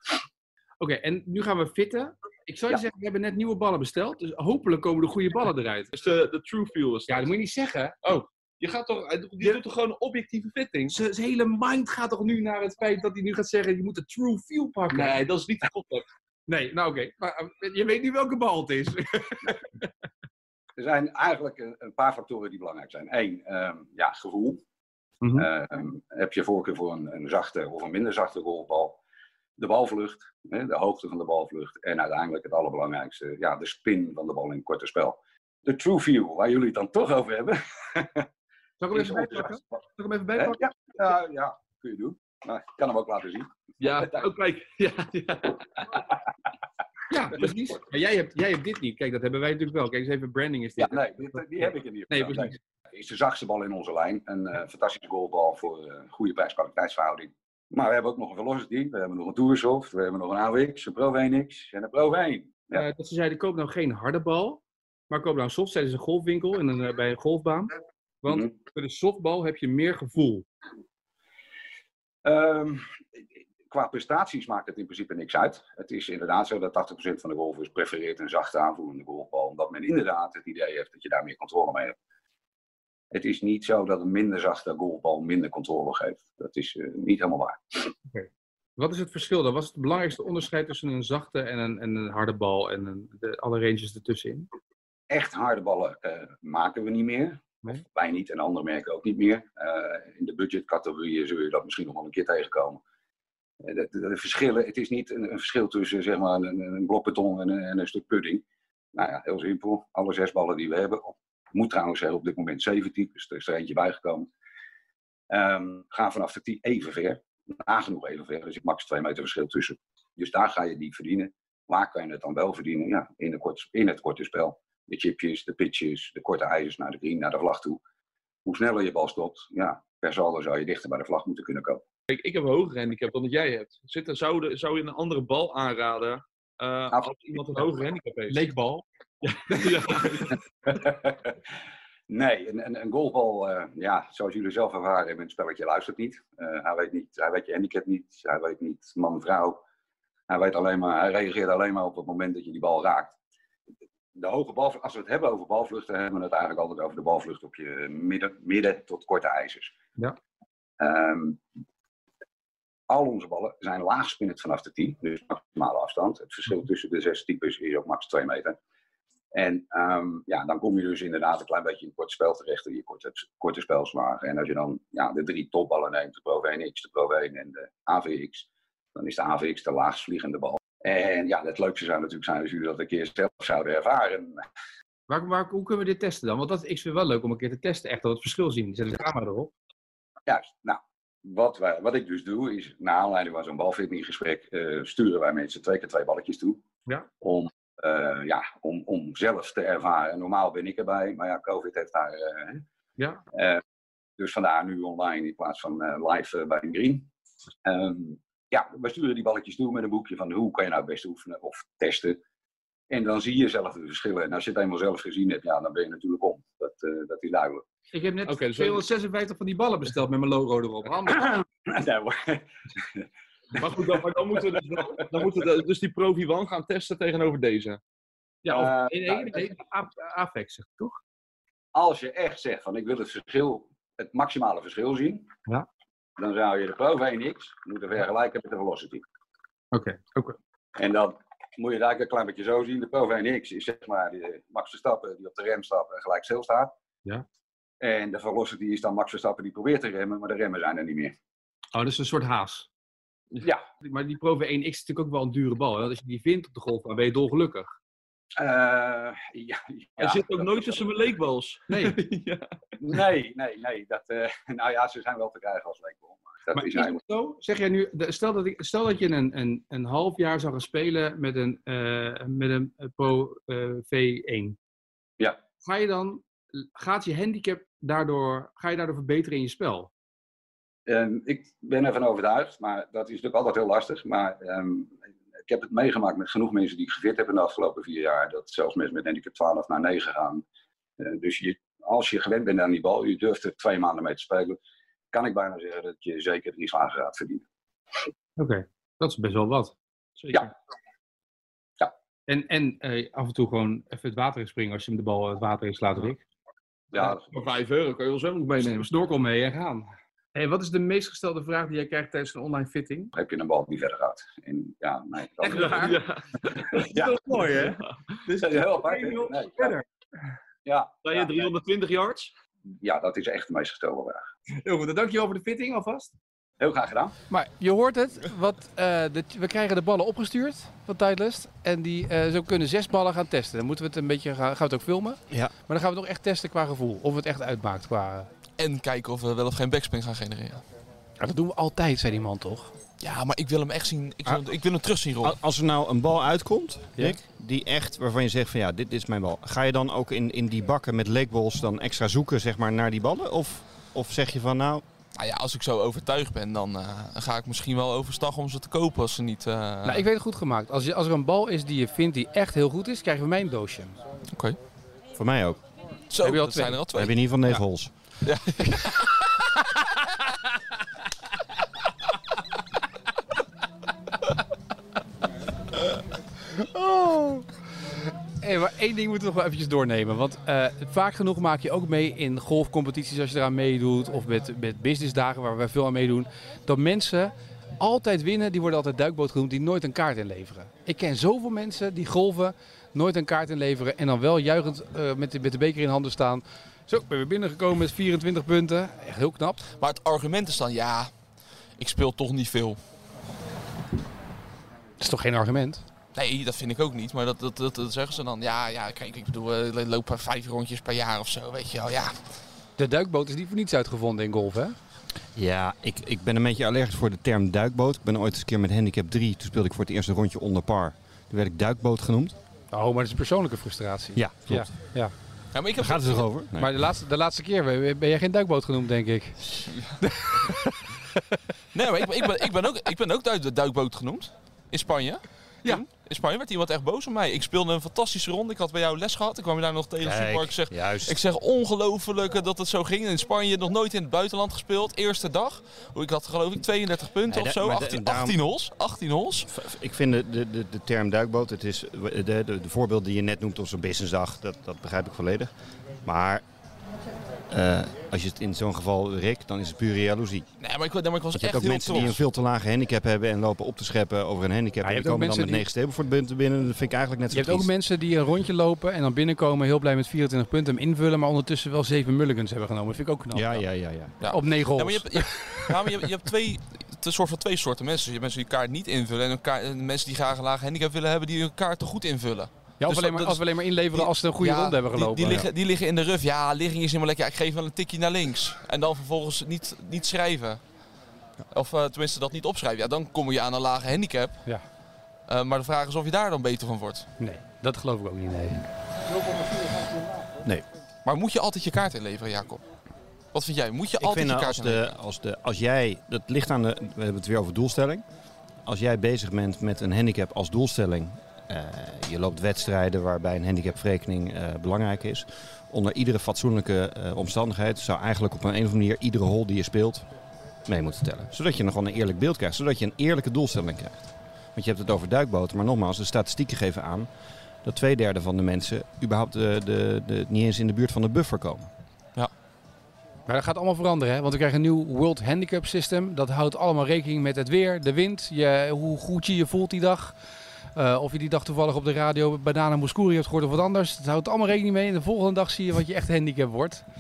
S4: Oké, en nu gaan we fitten. Ik zou je
S7: Ja.
S4: zeggen, we hebben net nieuwe ballen besteld. Dus hopelijk komen de goede ballen eruit.
S8: dus de, de true feel is
S4: Ja, dat
S8: dat.
S4: moet je niet zeggen.
S8: Je gaat toch, hij doet- die doet toch gewoon een objectieve fitting?
S4: Zijn zijn hele mind gaat toch nu naar het feit dat hij nu gaat zeggen, je moet de true feel pakken.
S8: Nee, dat is niet de concept.
S4: Nee, nou oké. Maar eh, je weet niet welke bal het is.
S7: Er zijn eigenlijk een, een paar factoren die belangrijk zijn. Eén, ehm, ja, gevoel.
S4: Mhm.
S7: Ehm, heb je voorkeur voor een, een zachte of een minder zachte golfbal? De balvlucht, hè, de hoogte van de balvlucht. En uiteindelijk het allerbelangrijkste, ja, de spin van de bal in het korte spel. De true view, waar jullie het dan toch over hebben. [LAUGHS]
S4: Zal ik hem even
S7: is onze
S4: bijpakken?
S7: zachte bal.
S4: Zal ik hem even
S7: Hè?
S4: bijpakken?
S7: Ja, ja, ja, kun je doen. Maar ik kan hem ook laten zien.
S8: Ja, ook kijk. [LAUGHS] Ja, ja.
S4: Ja, precies. Maar jij hebt, jij hebt dit niet. Kijk, dat hebben wij natuurlijk wel. Kijk eens even, branding is
S7: Ja,
S4: dit.
S7: nee, dit- die heb ik er niet.
S4: Nee,
S7: gedaan.
S4: precies.
S7: Het is de zachtste bal in onze lijn. Een eh, fantastische goalbal voor eh, goede prijs-kwaliteitsverhouding. Maar we hebben ook nog een Velocity, we hebben nog een Toursoft, we hebben nog een AWX, een Pro VNX en een Pro V1. Ja.
S4: Eh, dat ze zeiden, koop nou geen harde bal, maar koop nou een soft. Zeiden ze een golfwinkel en een, eh, bij een golfbaan. Want
S7: Mhm.
S4: met een softbal heb je meer gevoel.
S7: Ehm, qua prestaties maakt het in principe niks uit. Het is inderdaad zo dat 80% van de golfers prefereert een zachte aanvoelende golfbal, omdat men inderdaad het idee heeft dat je daar meer controle mee hebt. Het is niet zo dat een minder zachte golfbal minder controle geeft. Dat is eh, niet helemaal waar.
S4: Wat is het verschil dan? Wat is het belangrijkste onderscheid tussen een zachte en een, en een harde bal en een, de, alle ranges ertussenin?
S7: echt harde ballen eh, maken we niet meer.
S4: Nee.
S7: Of wij niet en andere merken ook niet meer. Eh, in de budgetcategorieën zul je dat misschien nog wel een keer tegenkomen. Eh, de, de- de verschillen, het is niet een, een verschil tussen zeg maar, een, een blok beton en een, en een stuk pudding. Nou ja, heel simpel. Alle zes ballen die we hebben, op- moet trouwens zeggen op dit moment 17, dus er is er eentje bijgekomen. Ehm, gaan vanaf de 10 even ver. Nagenoeg even ver. dus Er zit max 2 meter verschil tussen. Dus daar ga je die verdienen. Waar kan je het dan wel verdienen? Ja, in, de kort, in het korte spel de chipjes, de pitches, de korte ijzers naar de green, naar de vlag toe. Hoe sneller je bal stopt, ja, per saldo zou je dichter bij de vlag moeten kunnen komen.
S8: Kijk, ik heb een hoger handicap dan dat jij hebt. Zit er, zou, de- zou je een andere bal aanraden eh, als iemand een hoger handicap heeft?
S4: Leekbal.
S7: [LAUGHS] nee, een, een, een golfbal, eh, ja, zoals jullie zelf ervaren hebben, een spelletje luistert niet. Eh, hij, weet niet hij weet je handicap niet, hij weet niet man-vrouw. Hij, weet alleen maar, hij reageert alleen maar op het moment dat je die bal raakt. De hoge bal, als we het hebben over balvluchten, hebben we het eigenlijk altijd over de balvlucht op je midden, midden tot korte ijzers.
S4: Ja.
S7: Ehm, al onze ballen zijn laagspinnend vanaf de 10, dus maximale afstand. Het verschil tussen de zes types is ook max 2 meter. En ehm, ja, dan kom je dus inderdaad een klein beetje in het korte spel terecht, in je korte, korte spelslagen. En als je dan ja, de drie topballen neemt, de Pro 1X, de Pro 1 en de AVX, dan is de AVX de laagst vliegende bal. En ja, het leukste zou natuurlijk zijn als jullie dat een keer zelf zouden ervaren.
S4: Waar, waar, hoe kunnen we dit testen dan? Want dat, ik vind het wel leuk om een keer te testen. Echt dat we het verschil zien. Zet de camera erop.
S7: Juist. Nou, wat, wij, wat ik dus doe is, na aanleiding van zo'n balfittinggesprek, eh sturen wij mensen twee keer twee balletjes toe.
S4: Ja.
S7: Om, eh, ja, om, om zelf te ervaren. Normaal ben ik erbij, maar ja, COVID heeft daar... eh, hè.
S4: Ja.
S7: Eh, dus vandaar nu online in plaats van eh, live eh, bij een green. Ehm, ja, we sturen die balletjes toe met een boekje van hoe kan je nou het beste oefenen of testen. En dan zie je zelf de verschillen. En als je het eenmaal zelf gezien hebt, ja, dan ben je natuurlijk om. Dat, eh, dat is duidelijk.
S4: Ik heb net
S8: Oké, dus-
S4: 256 van die ballen besteld met mijn logo
S8: [LAUGHS]
S4: erop. Handig.
S7: Nou,
S8: Maar goed, dan, maar dan moeten we dus, dan, dan moeten we dus die Pro V1 gaan testen tegenover deze.
S4: Ja, of,
S7: Eh,
S4: nee, nee,
S7: nou,
S4: nee, A- Avex, zeg ik toch?
S7: als je echt zegt van ik wil het verschil, het maximale verschil zien,
S4: Ja.
S7: dan zou je de Pro V1X moeten vergelijken met de Velocity.
S4: Oké, oké.
S7: En dan moet je het eigenlijk een klein beetje zo zien. De Pro V1X is zeg maar de Max Verstappen die op de rem stapt en gelijk stilstaat.
S4: Ja.
S7: En de velocity is dan Max Verstappen die probeert te remmen, maar de remmen zijn er niet meer.
S9: Oh, dat is een soort haas.
S7: Ja.
S9: Maar die Provo 1X is natuurlijk ook wel een dure bal. Hè? Als je die vindt op de golfbaan, ben je dolgelukkig.
S7: Eh, ja,
S8: Hij
S7: ja,
S8: zit ook
S7: dat-
S8: nooit tussen mijn leekbals.
S9: [LAUGHS] Nee.
S8: ja.
S7: Nee, nee, nee. Dat, eh, [LAUGHS] nou ja, ze zijn wel te krijgen als leekbal. Maar dat
S9: maar
S7: is
S9: is het
S7: eigenlijk...
S9: zo? Zeg jij nu, de- stel dat, ik, stel dat je een, een, een half jaar zou gaan spelen met een, eh, met een Pro eh, V1.
S7: Ja.
S9: Ga je dan, gaat je handicap daardoor, ga je daardoor verbeteren in je spel?
S7: Ehm, ik ben ervan overtuigd, maar dat is natuurlijk altijd heel lastig. Maar ehm, ik heb het meegemaakt met genoeg mensen die ik gefit heb in de afgelopen vier jaar. Dat zelfs mensen met handicap 12 naar 9 gaan. Eh, dus je, als je gewend bent aan die bal, je durft er twee maanden mee te spelen. Kan ik bijna zeggen dat je zeker drie slagen gaat verdienen.
S9: Oké, dat is best wel wat. Zeker.
S7: Ja. Ja.
S9: En, en eh, af en toe gewoon even het water in springen als je hem de bal het water in slaat, Rick.
S7: Ja,
S8: Voor 5 euro kan je ons ook nog meenemen.
S9: Snorkel mee en gaan. Hey, wat is de meest gestelde vraag die jij krijgt tijdens een online fitting?
S7: heb je een bal die verder gaat. En ja, nee. dat-
S8: Ja.
S7: [LAUGHS] Ja.
S8: Dat is mooi, hè? Dus
S7: Dat is heel apart. hè?
S8: Nee, joh,
S7: Nee, ja,
S8: verder.
S7: ja,
S8: Sta je
S7: ja,
S8: 320 yards?
S7: ja, dat is echt de meest gestelde vraag.
S9: Heel goed, dan dankjewel voor de fitting alvast.
S7: Heel graag gedaan.
S1: Maar je hoort het, wat, eh, de, we krijgen de ballen opgestuurd van Tijdlust. En die, eh, zo kunnen zes ballen gaan testen. Dan moeten we het een beetje gaan, gaan we het ook filmen.
S2: Ja.
S1: Maar dan gaan we het ook echt testen qua gevoel. Of het echt uitmaakt qua...
S3: En kijken of we wel of geen backspin gaan genereren.
S1: Ja, dat doen we altijd, zei die man toch?
S3: Ja, maar ik wil hem echt zien. Ik
S8: Ah.
S3: wil, ik wil hem terug zien rollen.
S2: Al- Als er nou een bal uitkomt, Rick, die echt waarvan je zegt van ja, dit is mijn bal. Ga je dan ook in, in die bakken met leekbols dan extra zoeken zeg maar, naar die ballen? Of, of zeg je van nou,
S3: Nou ja, als ik zo overtuigd ben, dan eh, ga ik misschien wel overstag om ze te kopen als ze niet... eh,
S1: Nou, ik weet het goed gemaakt. Als, je, als er een bal is die je vindt die echt heel goed is, krijgen we mijn doosje.
S2: voor mij ook.
S3: Zo,
S1: heb je al
S3: dat
S1: twee.
S3: zijn er al
S2: We
S3: twee.
S2: hebben in ieder geval negen holes.
S1: Oh. Hey, maar één ding moeten we nog wel eventjes doornemen. Want eh, vaak genoeg maak je ook mee in golfcompetities als je eraan meedoet. Of met, met businessdagen waar wij veel aan meedoen. Dat mensen altijd winnen, die worden altijd duikboot genoemd, die nooit een kaart inleveren. Ik ken zoveel mensen die golven, nooit een kaart inleveren. En dan wel juichend eh, met, de, met de beker in handen staan. Zo, ik ben weer binnengekomen met 24 punten. Echt heel knap.
S3: Maar het argument is dan, ja, ik speel toch niet veel.
S1: Dat is toch geen argument?
S3: Nee, dat vind ik ook niet. Maar dat, dat, dat, dat zeggen ze dan. Ja, ja, kijk, ik bedoel, eh, er lopen vijf rondjes per jaar of zo, weet je wel. Ja,
S1: De duikboot is niet voor niets uitgevonden in golf, hè?
S2: Ja, ik, ik ben een beetje allergisch voor de term duikboot. Ik ben ooit eens een keer met handicap 3, toen speelde ik voor het eerste rondje onder par. Toen werd ik duikboot genoemd.
S1: Oh, maar dat is een persoonlijke frustratie.
S2: Ja, klopt.
S1: Ja, ja.
S3: ja maar ik heb...
S2: Daar gaat het toch over? Nee.
S1: Maar de laatste, de laatste keer ben ben jij geen duikboot genoemd, denk ik.
S3: Nee, maar ik, ben- ik, ben, ik, ben ook, ik ben ook duik, duikboot genoemd. In Spanje.
S1: Ja.
S3: Toen, in Spanje werd iemand echt boos op mij. Ik speelde een fantastische ronde. Ik had bij jou les gehad. Ik kwam je daar nog tegen.
S2: Kijk,
S3: Supermarkt. Ik zeg,
S2: Juist.
S3: Ik zeg ongelooflijk eh, dat het zo ging. In Spanje nog nooit in het buitenland gespeeld. Eerste dag. Hoe Ik had geloof ik 32 punten
S2: Nee,
S3: of
S2: dat-
S3: zo.
S2: maar de-
S3: 18,
S2: daarom-
S3: 18 hols. 18 hols.
S2: Ik vind de, de, de, de term duikboot, het is de, de, de voorbeeld die je net noemt op zo'n businessdag, dat, dat begrijp ik volledig. Maar eh, als je het in zo'n geval rikt, dan is het pure jaloezie.
S3: Nee, maar ik, nee, maar ik was
S2: Want je
S3: echt
S2: hebt ook
S3: heel
S2: mensen die een
S3: trots.
S2: veel te lage handicap hebben en lopen op te scheppen over een handicap.
S1: Ja,
S2: en
S1: je
S2: die
S1: hebt ook
S2: komen dan
S1: mensen
S2: met
S1: die-
S2: negen steden voor het punten binnen. Dat vind ik eigenlijk net
S1: Je
S2: zo
S1: hebt ook
S2: triest.
S1: mensen die een rondje lopen en dan binnenkomen heel blij met 24 punten hem invullen, maar ondertussen wel 7 mulligans hebben genomen. Dat vind ik ook knap.
S2: Ja, ja, ja, ja.
S1: Op 9 holes.
S3: Ja, maar je hebt, je, hebt- ja, maar je, hebt- je hebt twee, het is een soort van twee soorten mensen. Je hebt mensen die kaart niet invullen en, een kaart- en mensen die graag een lage handicap willen hebben die hun kaart te goed invullen.
S1: Ja, of
S3: dus
S1: alleen
S3: dat-
S1: maar,
S3: dat
S1: als we alleen maar inleveren
S3: die-
S1: als ze een goede
S3: Ja,
S1: ronde hebben
S3: die-
S1: gelopen.
S3: Die, liggen, die liggen in de ruf. Ja, ligging is helemaal lekker. Ja, ik geef wel een tikje naar links. En dan vervolgens niet, niet schrijven. Of eh, tenminste dat niet opschrijven. Ja, dan kom je aan een lage handicap.
S1: Ja.
S3: Eh, maar de vraag is of je daar dan beter van wordt.
S1: Nee, dat geloof ik ook niet. Nee.
S3: Maar moet je altijd je kaart inleveren, Jacob? Wat vind jij? Moet je
S2: Ik
S3: altijd
S2: vind
S3: je
S2: nou,
S3: kaart
S2: als, de,
S3: inleveren?
S2: als, de, als jij, dat ligt aan de, we hebben het weer over doelstelling. Als jij bezig bent met een handicap als doelstelling, eh, je loopt wedstrijden waarbij een handicapverrekening eh, belangrijk is. Onder iedere fatsoenlijke eh, omstandigheid zou eigenlijk op een, een of andere manier iedere hol die je speelt mee moeten tellen. Zodat je nog wel een eerlijk beeld krijgt, zodat je een eerlijke doelstelling krijgt. Want je hebt het over duikboten, maar nogmaals, de statistieken geven aan dat twee derde van de mensen überhaupt eh, de, de, niet eens in de buurt van de buffer komen.
S1: Maar dat gaat allemaal veranderen, hè? want we krijgen een nieuw World Handicap System. Dat houdt allemaal rekening met het weer, de wind, je, hoe goed je je voelt die dag. Eh, of je die dag toevallig op de radio Banana Mouskouri hebt gehoord of wat anders. Dat houdt allemaal rekening mee. En de volgende dag zie je wat je echt handicap wordt. Dan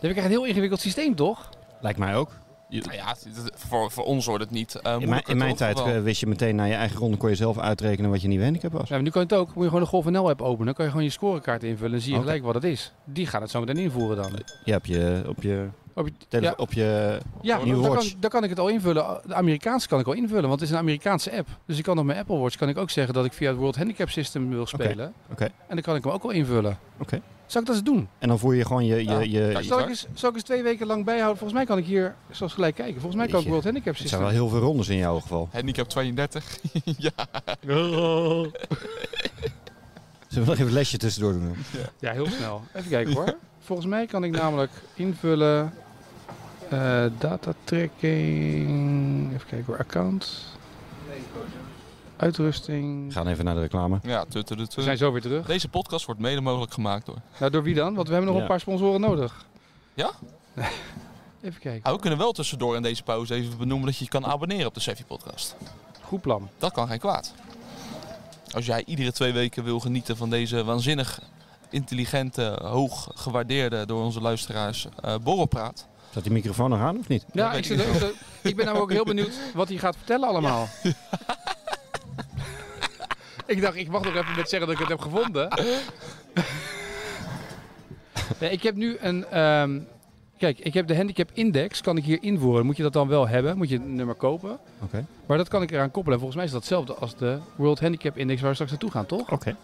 S1: heb ik echt een heel ingewikkeld systeem, toch?
S2: Lijkt mij ook.
S3: Nou ja, het- het- voor, voor ons wordt het niet eh
S1: Oh,
S2: In mijn,
S3: moeilijker,
S2: in mijn
S3: toch?
S2: tijd
S3: Wel.
S2: eh, wist je meteen na je eigen ronde kon je zelf uitrekenen wat je nieuwe handicap was.
S1: Ja, maar nu kan het ook. Moet je gewoon de GolfNL app openen. Dan kan je gewoon je scorekaart invullen. En zie je
S2: Oké.
S1: gelijk wat het is. Die gaan het zo meteen invoeren dan.
S2: Je hebt je op je,
S1: Op je-
S2: tele-
S1: ja.
S2: op je
S1: Ja,
S2: Nieuwe
S1: daar kan,
S2: watch.
S1: daar kan ik het al invullen. De Amerikaanse kan ik al invullen, want het is een Amerikaanse app. Dus ik kan op mijn Apple Watch kan ik ook zeggen dat ik via het World Handicap System wil spelen.
S2: oké.
S1: En dan kan ik hem ook al invullen.
S2: Oké.
S1: Zal ik dat eens doen?
S2: en dan voer je gewoon je,
S3: Ja,
S2: je, je,
S3: kijk,
S1: Zal ik
S3: waar?
S1: eens, zal ik eens twee weken lang bijhouden? Volgens mij kan ik hier zoals gelijk kijken. Volgens mij kan ik
S2: Jeetje.
S1: World Handicap
S2: Het zijn
S1: System.
S2: wel heel veel rondes in jouw geval.
S3: Handicap [LAUGHS] 32.
S2: Zullen we nog even een lesje tussendoor doen?
S1: Ja, heel snel. Even kijken
S2: [LAUGHS]
S1: hoor. Volgens mij kan ik namelijk invullen eh data tracking. Even kijken hoor. Account.
S2: We
S1: Uitrusting.
S2: gaan even naar de reclame.
S3: Ja, tu- tu- tu- tu.
S1: We zijn zo weer terug.
S3: Deze podcast wordt mede mogelijk gemaakt door.
S1: Nou, door wie dan? Want we hebben nog
S2: Ja.
S1: een paar sponsoren nodig.
S3: Ja?
S1: [LAUGHS] Even kijken.
S3: Ah, we kunnen wel tussendoor in deze pauze even benoemen dat je je kan abonneren op de Seffi Podcast.
S1: Goed plan.
S3: Dat kan geen kwaad. Als jij iedere twee weken wil genieten van deze waanzinnig intelligente, hoog gewaardeerde door onze luisteraars eh borrelpraat.
S2: Staat die microfoon nog aan of niet?
S1: Ja,
S3: weet
S1: ik,
S3: ik
S1: zit- ik zit- ik ben namelijk ook heel benieuwd wat hij gaat vertellen allemaal. ik dacht, ik mag nog even met zeggen dat ik het heb gevonden. nee, ik heb nu een... ehm, kijk, ik heb de handicap index, kan ik hier invoeren. Moet je dat dan wel hebben? Moet je het nummer kopen?
S2: Oké.
S1: Maar dat kan ik eraan koppelen. En Volgens mij is dat hetzelfde als de World Handicap Index waar we straks naartoe gaan, toch?
S2: Oké.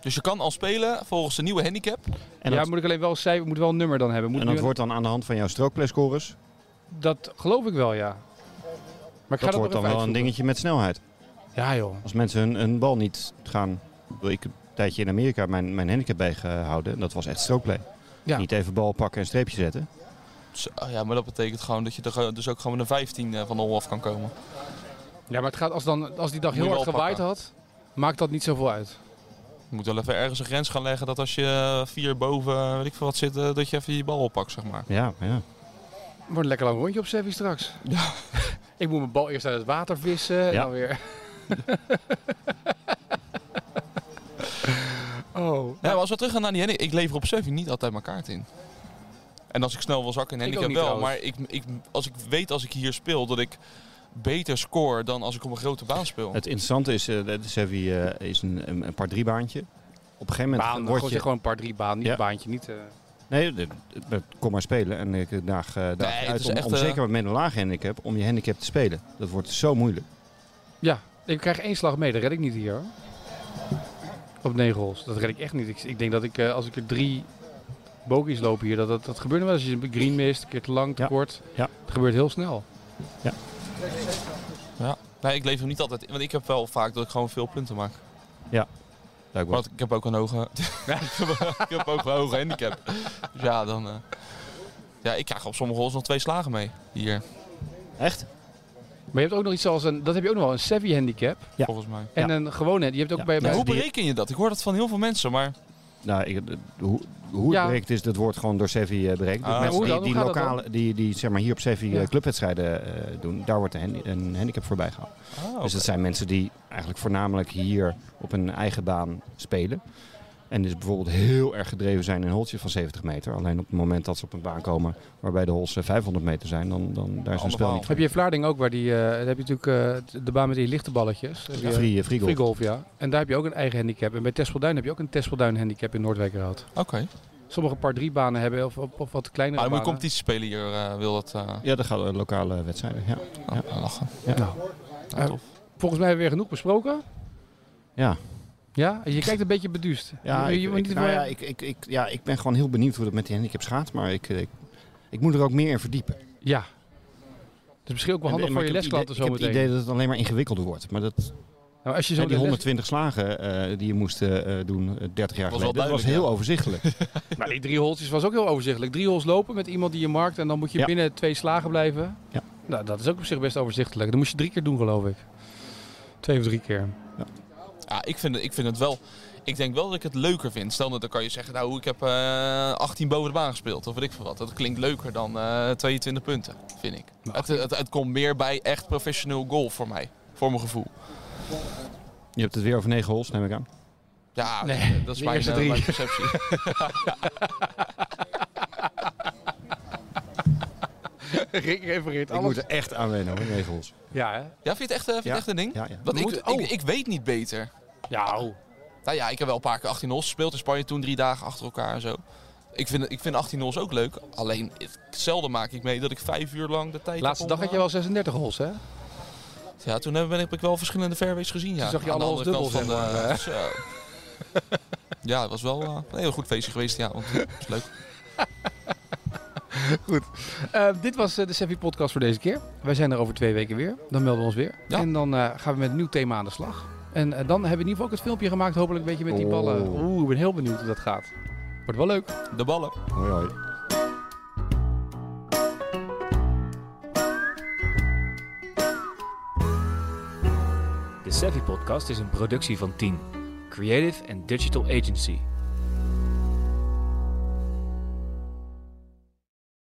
S3: Dus je kan al spelen volgens de nieuwe handicap.
S2: En,
S1: ja,
S2: dat,
S1: moet ik alleen wel een cijfer, moet wel een nummer dan hebben. Moet
S2: en
S1: nu
S2: dat
S1: een-
S2: wordt dan aan de hand van jouw strookplayscores.
S1: Dat geloof ik wel, ja. Maar ik ga
S2: Dat
S1: dat nog even
S2: wordt dan wel een
S1: uitzoeken.
S2: dingetje met snelheid.
S1: Ja, joh.
S2: Als mensen hun, hun bal niet gaan... Ik heb een tijdje in Amerika mijn, mijn handicap bijgehouden. En dat was echt strookplay.
S1: Ja.
S2: Niet even bal pakken en streepje zetten.
S3: Zo, oh ja, maar dat betekent gewoon dat je er gewoon- dus ook gewoon met een 15 eh, van de hol af kan komen.
S1: Ja, maar het gaat als, dan, als die dag
S3: Moet
S1: heel
S3: je
S1: hard
S3: wel
S1: gewaaid had, maakt dat niet zoveel uit.
S3: Je moet wel even ergens een grens gaan leggen dat als je eh, vier boven, eh, weet ik veel wat zit, eh, dat je even je bal oppakt, zeg maar.
S2: Ja, maar ja.
S1: Wordt een lekker lang rondje op Sevi straks. [LAUGHS] ik moet mijn bal eerst uit het water vissen en
S2: Ja.
S1: dan weer... [LAUGHS] oh.
S3: Ja, maar als we teruggaan naar die handicap, ik lever op surfing niet altijd mijn kaart in. En als ik snel wil zakken in
S1: Ik ook
S3: handicap
S1: niet
S3: wel, maar ik, ik, als ik weet als ik hier speel dat ik beter score dan als ik op een grote baan speel.
S2: Het interessante is, eh, dat is, even, eh, is een, een, een paar drie baantje. Op een gegeven moment
S1: Baan,
S2: word
S1: gewoon,
S2: je...
S1: zeg gewoon een paar drie baan, niet
S2: Ja.
S1: baantje, niet... eh,
S2: Nee, de- de- de- kom maar spelen. En ik daag, eh, daag
S3: Nee, het
S2: uit
S3: is
S2: om,
S3: echt,
S2: om
S3: eh,
S2: zeker met een lage handicap, om je handicap te spelen. Dat wordt zo moeilijk.
S1: Ja, ik krijg één slag mee, dat red ik niet hier hoor. Op negen holes, dat red ik echt niet. Ik, ik denk dat ik, eh, als ik er drie bogies loop hier, dat, dat, dat gebeurt nog wel eens. Als je een green mist, een keer te lang, te
S2: Ja.
S1: kort.
S2: Ja.
S1: Het gebeurt heel snel.
S3: Nee, ik lever hem niet altijd in, want ik heb wel vaak dat ik gewoon veel punten maak.
S2: Blijkbaar.
S3: Maar ik heb ook een hoge, [LAUGHS] ik heb ook een hoge handicap. Dus ja, dan... eh, ja, ik krijg op sommige holes nog twee slagen mee hier,
S2: Echt?
S1: Maar je hebt ook nog iets als een, dat heb je ook nog wel, een savvy handicap.
S2: Ja.
S3: volgens mij.
S1: En een gewone, die hebt ook
S2: Ja.
S1: bij...
S2: Ja,
S1: bij
S3: Hoe
S2: die-
S3: bereken je dat? Ik hoor dat van heel veel mensen, maar...
S2: Nou, ik, de- hoe, hoe het
S1: Ja.
S2: bereikt is, dat wordt gewoon door Sevi eh, bereikt. Dus
S3: Ah.
S2: mensen
S1: Hoe
S2: die,
S1: dan?
S2: die
S1: Hoe gaat dat
S2: lokale, die, die zeg maar hier op Sevi
S1: Ja.
S2: clubwedstrijden eh, doen, daar wordt een, handi- een handicap voorbij gehaald.
S3: Oh,
S2: Dus dat zijn mensen die eigenlijk voornamelijk hier op hun eigen baan spelen. En dus bijvoorbeeld heel erg gedreven zijn in een holtje van 70 meter. Alleen op het moment dat ze op een baan komen waarbij de hols eh, 500 meter zijn, dan, dan daar is
S3: Ander
S2: hun spel
S3: verhaal.
S2: niet
S1: Heb je in Vlaarding ook, waar die, eh, daar heb je natuurlijk eh, de baan met die lichte balletjes. Heb je-
S2: Free, eh, free golf.
S1: Free golf, ja. En daar heb je ook een eigen handicap. En bij Tespelduin heb je ook een Tespelduin handicap in Noordwijkerhout.
S3: Oké.
S1: Sommige paar drie banen hebben, of, of, of wat kleinere
S2: Ah,
S3: Maar je
S1: banen.
S3: moet competitie spelen hier, eh, wil dat... eh,
S2: Ja, dat gaat eh, lokale wedstrijden. Ja.
S3: nou, lachen.
S1: Nou,
S3: Nou,
S1: eh,
S3: tof.
S1: volgens mij hebben we weer genoeg besproken.
S2: Ja.
S1: Ja, je kijkt een beetje beduust.
S2: Ja,
S1: je, je
S2: ik,
S1: moet
S2: ik-
S1: niet
S2: nou
S1: voor-
S2: ja, ik, ik, ik, ja, ik ben gewoon heel benieuwd hoe dat met die handicaps gaat. Maar ik, eh, ik, ik moet er ook meer in verdiepen.
S1: ja. Dus misschien ook wel handig
S2: En-
S1: voor
S2: maar
S1: je
S2: ik heb het
S1: lesklanten
S2: idee- Ik heb
S1: zometeen.
S2: het idee dat het alleen maar ingewikkelder wordt. Maar dat,
S1: Nou, als je
S2: hè,
S1: zo
S2: die
S1: meteen [LAUGHS] les-
S2: 120 slagen eh, die je moest eh, doen eh, 30 jaar
S3: Was wel
S2: geleden, dat was
S3: duidelijk,
S2: heel
S3: ja.
S2: overzichtelijk.
S1: Maar Nou, die drie holtjes was ook heel overzichtelijk. Drie hols lopen met iemand die je markt en dan moet je
S2: Ja.
S1: binnen twee slagen blijven.
S2: Ja.
S1: Nou, dat is ook op zich best overzichtelijk. Dat moest je drie keer doen, geloof ik. Twee of drie keer.
S3: Ja, ik vind, het, ik vind het wel. Ik denk wel dat ik het leuker vind. Stel dat dan kan je zeggen, nou, ik heb eh, 18 boven de baan gespeeld. Of weet ik veel wat. Dat klinkt leuker dan eh, 22 punten, vind ik. Het, het, het komt meer bij echt professioneel golf voor mij. Voor mijn gevoel.
S2: Je hebt het weer over 9 holes, neem ik aan.
S3: Ja, eh,
S1: Nee,
S3: dat is
S1: de [LAUGHS]
S3: mijn,
S1: eerste
S3: eh,
S1: drie.
S3: mijn perceptie.
S1: Rick refereert
S2: Ik
S1: alles.
S2: moet er echt aan wennen hoor, regels.
S1: Ja, hè?
S3: Ja, vind je het echt, eh, vind je het echt een ding?
S2: Ja, ja.
S3: Want ik,
S1: Moet- oh.
S3: ik, ik weet niet beter.
S1: Ja, oh.
S3: Nou ja, ik heb wel een paar keer 18 hols gespeeld in Spanje toen drie dagen achter elkaar en zo. Ik vind, ik vind 18 hols ook leuk. Alleen het- zelden maak ik mee dat ik vijf uur lang de tijd.
S1: Laatste
S3: heb om,
S1: dag had je wel 36 holes, hè?
S3: eh, Ja, toen heb, ben ik, heb ik wel verschillende fairways gezien. Ja.
S1: Toen zag je
S3: Aan de
S1: alle
S3: andere
S1: hols
S3: kant
S1: dubbel, zeg maar.
S3: zo. [LAUGHS] ja, het was wel eh, een heel goed feestje geweest. Ja, want het was leuk.
S1: Eh, dit was eh, de Seffi podcast voor deze keer. Wij zijn er over twee weken weer. Dan melden we ons weer.
S3: Ja.
S1: En dan eh, gaan we met een nieuw thema aan de slag. En eh, dan hebben we in ieder geval ook het filmpje gemaakt. Hopelijk een beetje met die ballen.
S2: Oh.
S1: Oeh, ik ben heel benieuwd hoe dat gaat. Wordt wel leuk.
S3: De ballen.
S2: Hoi hoi.
S6: De Savvy Podcast is een productie van Team Creative and Digital Agency.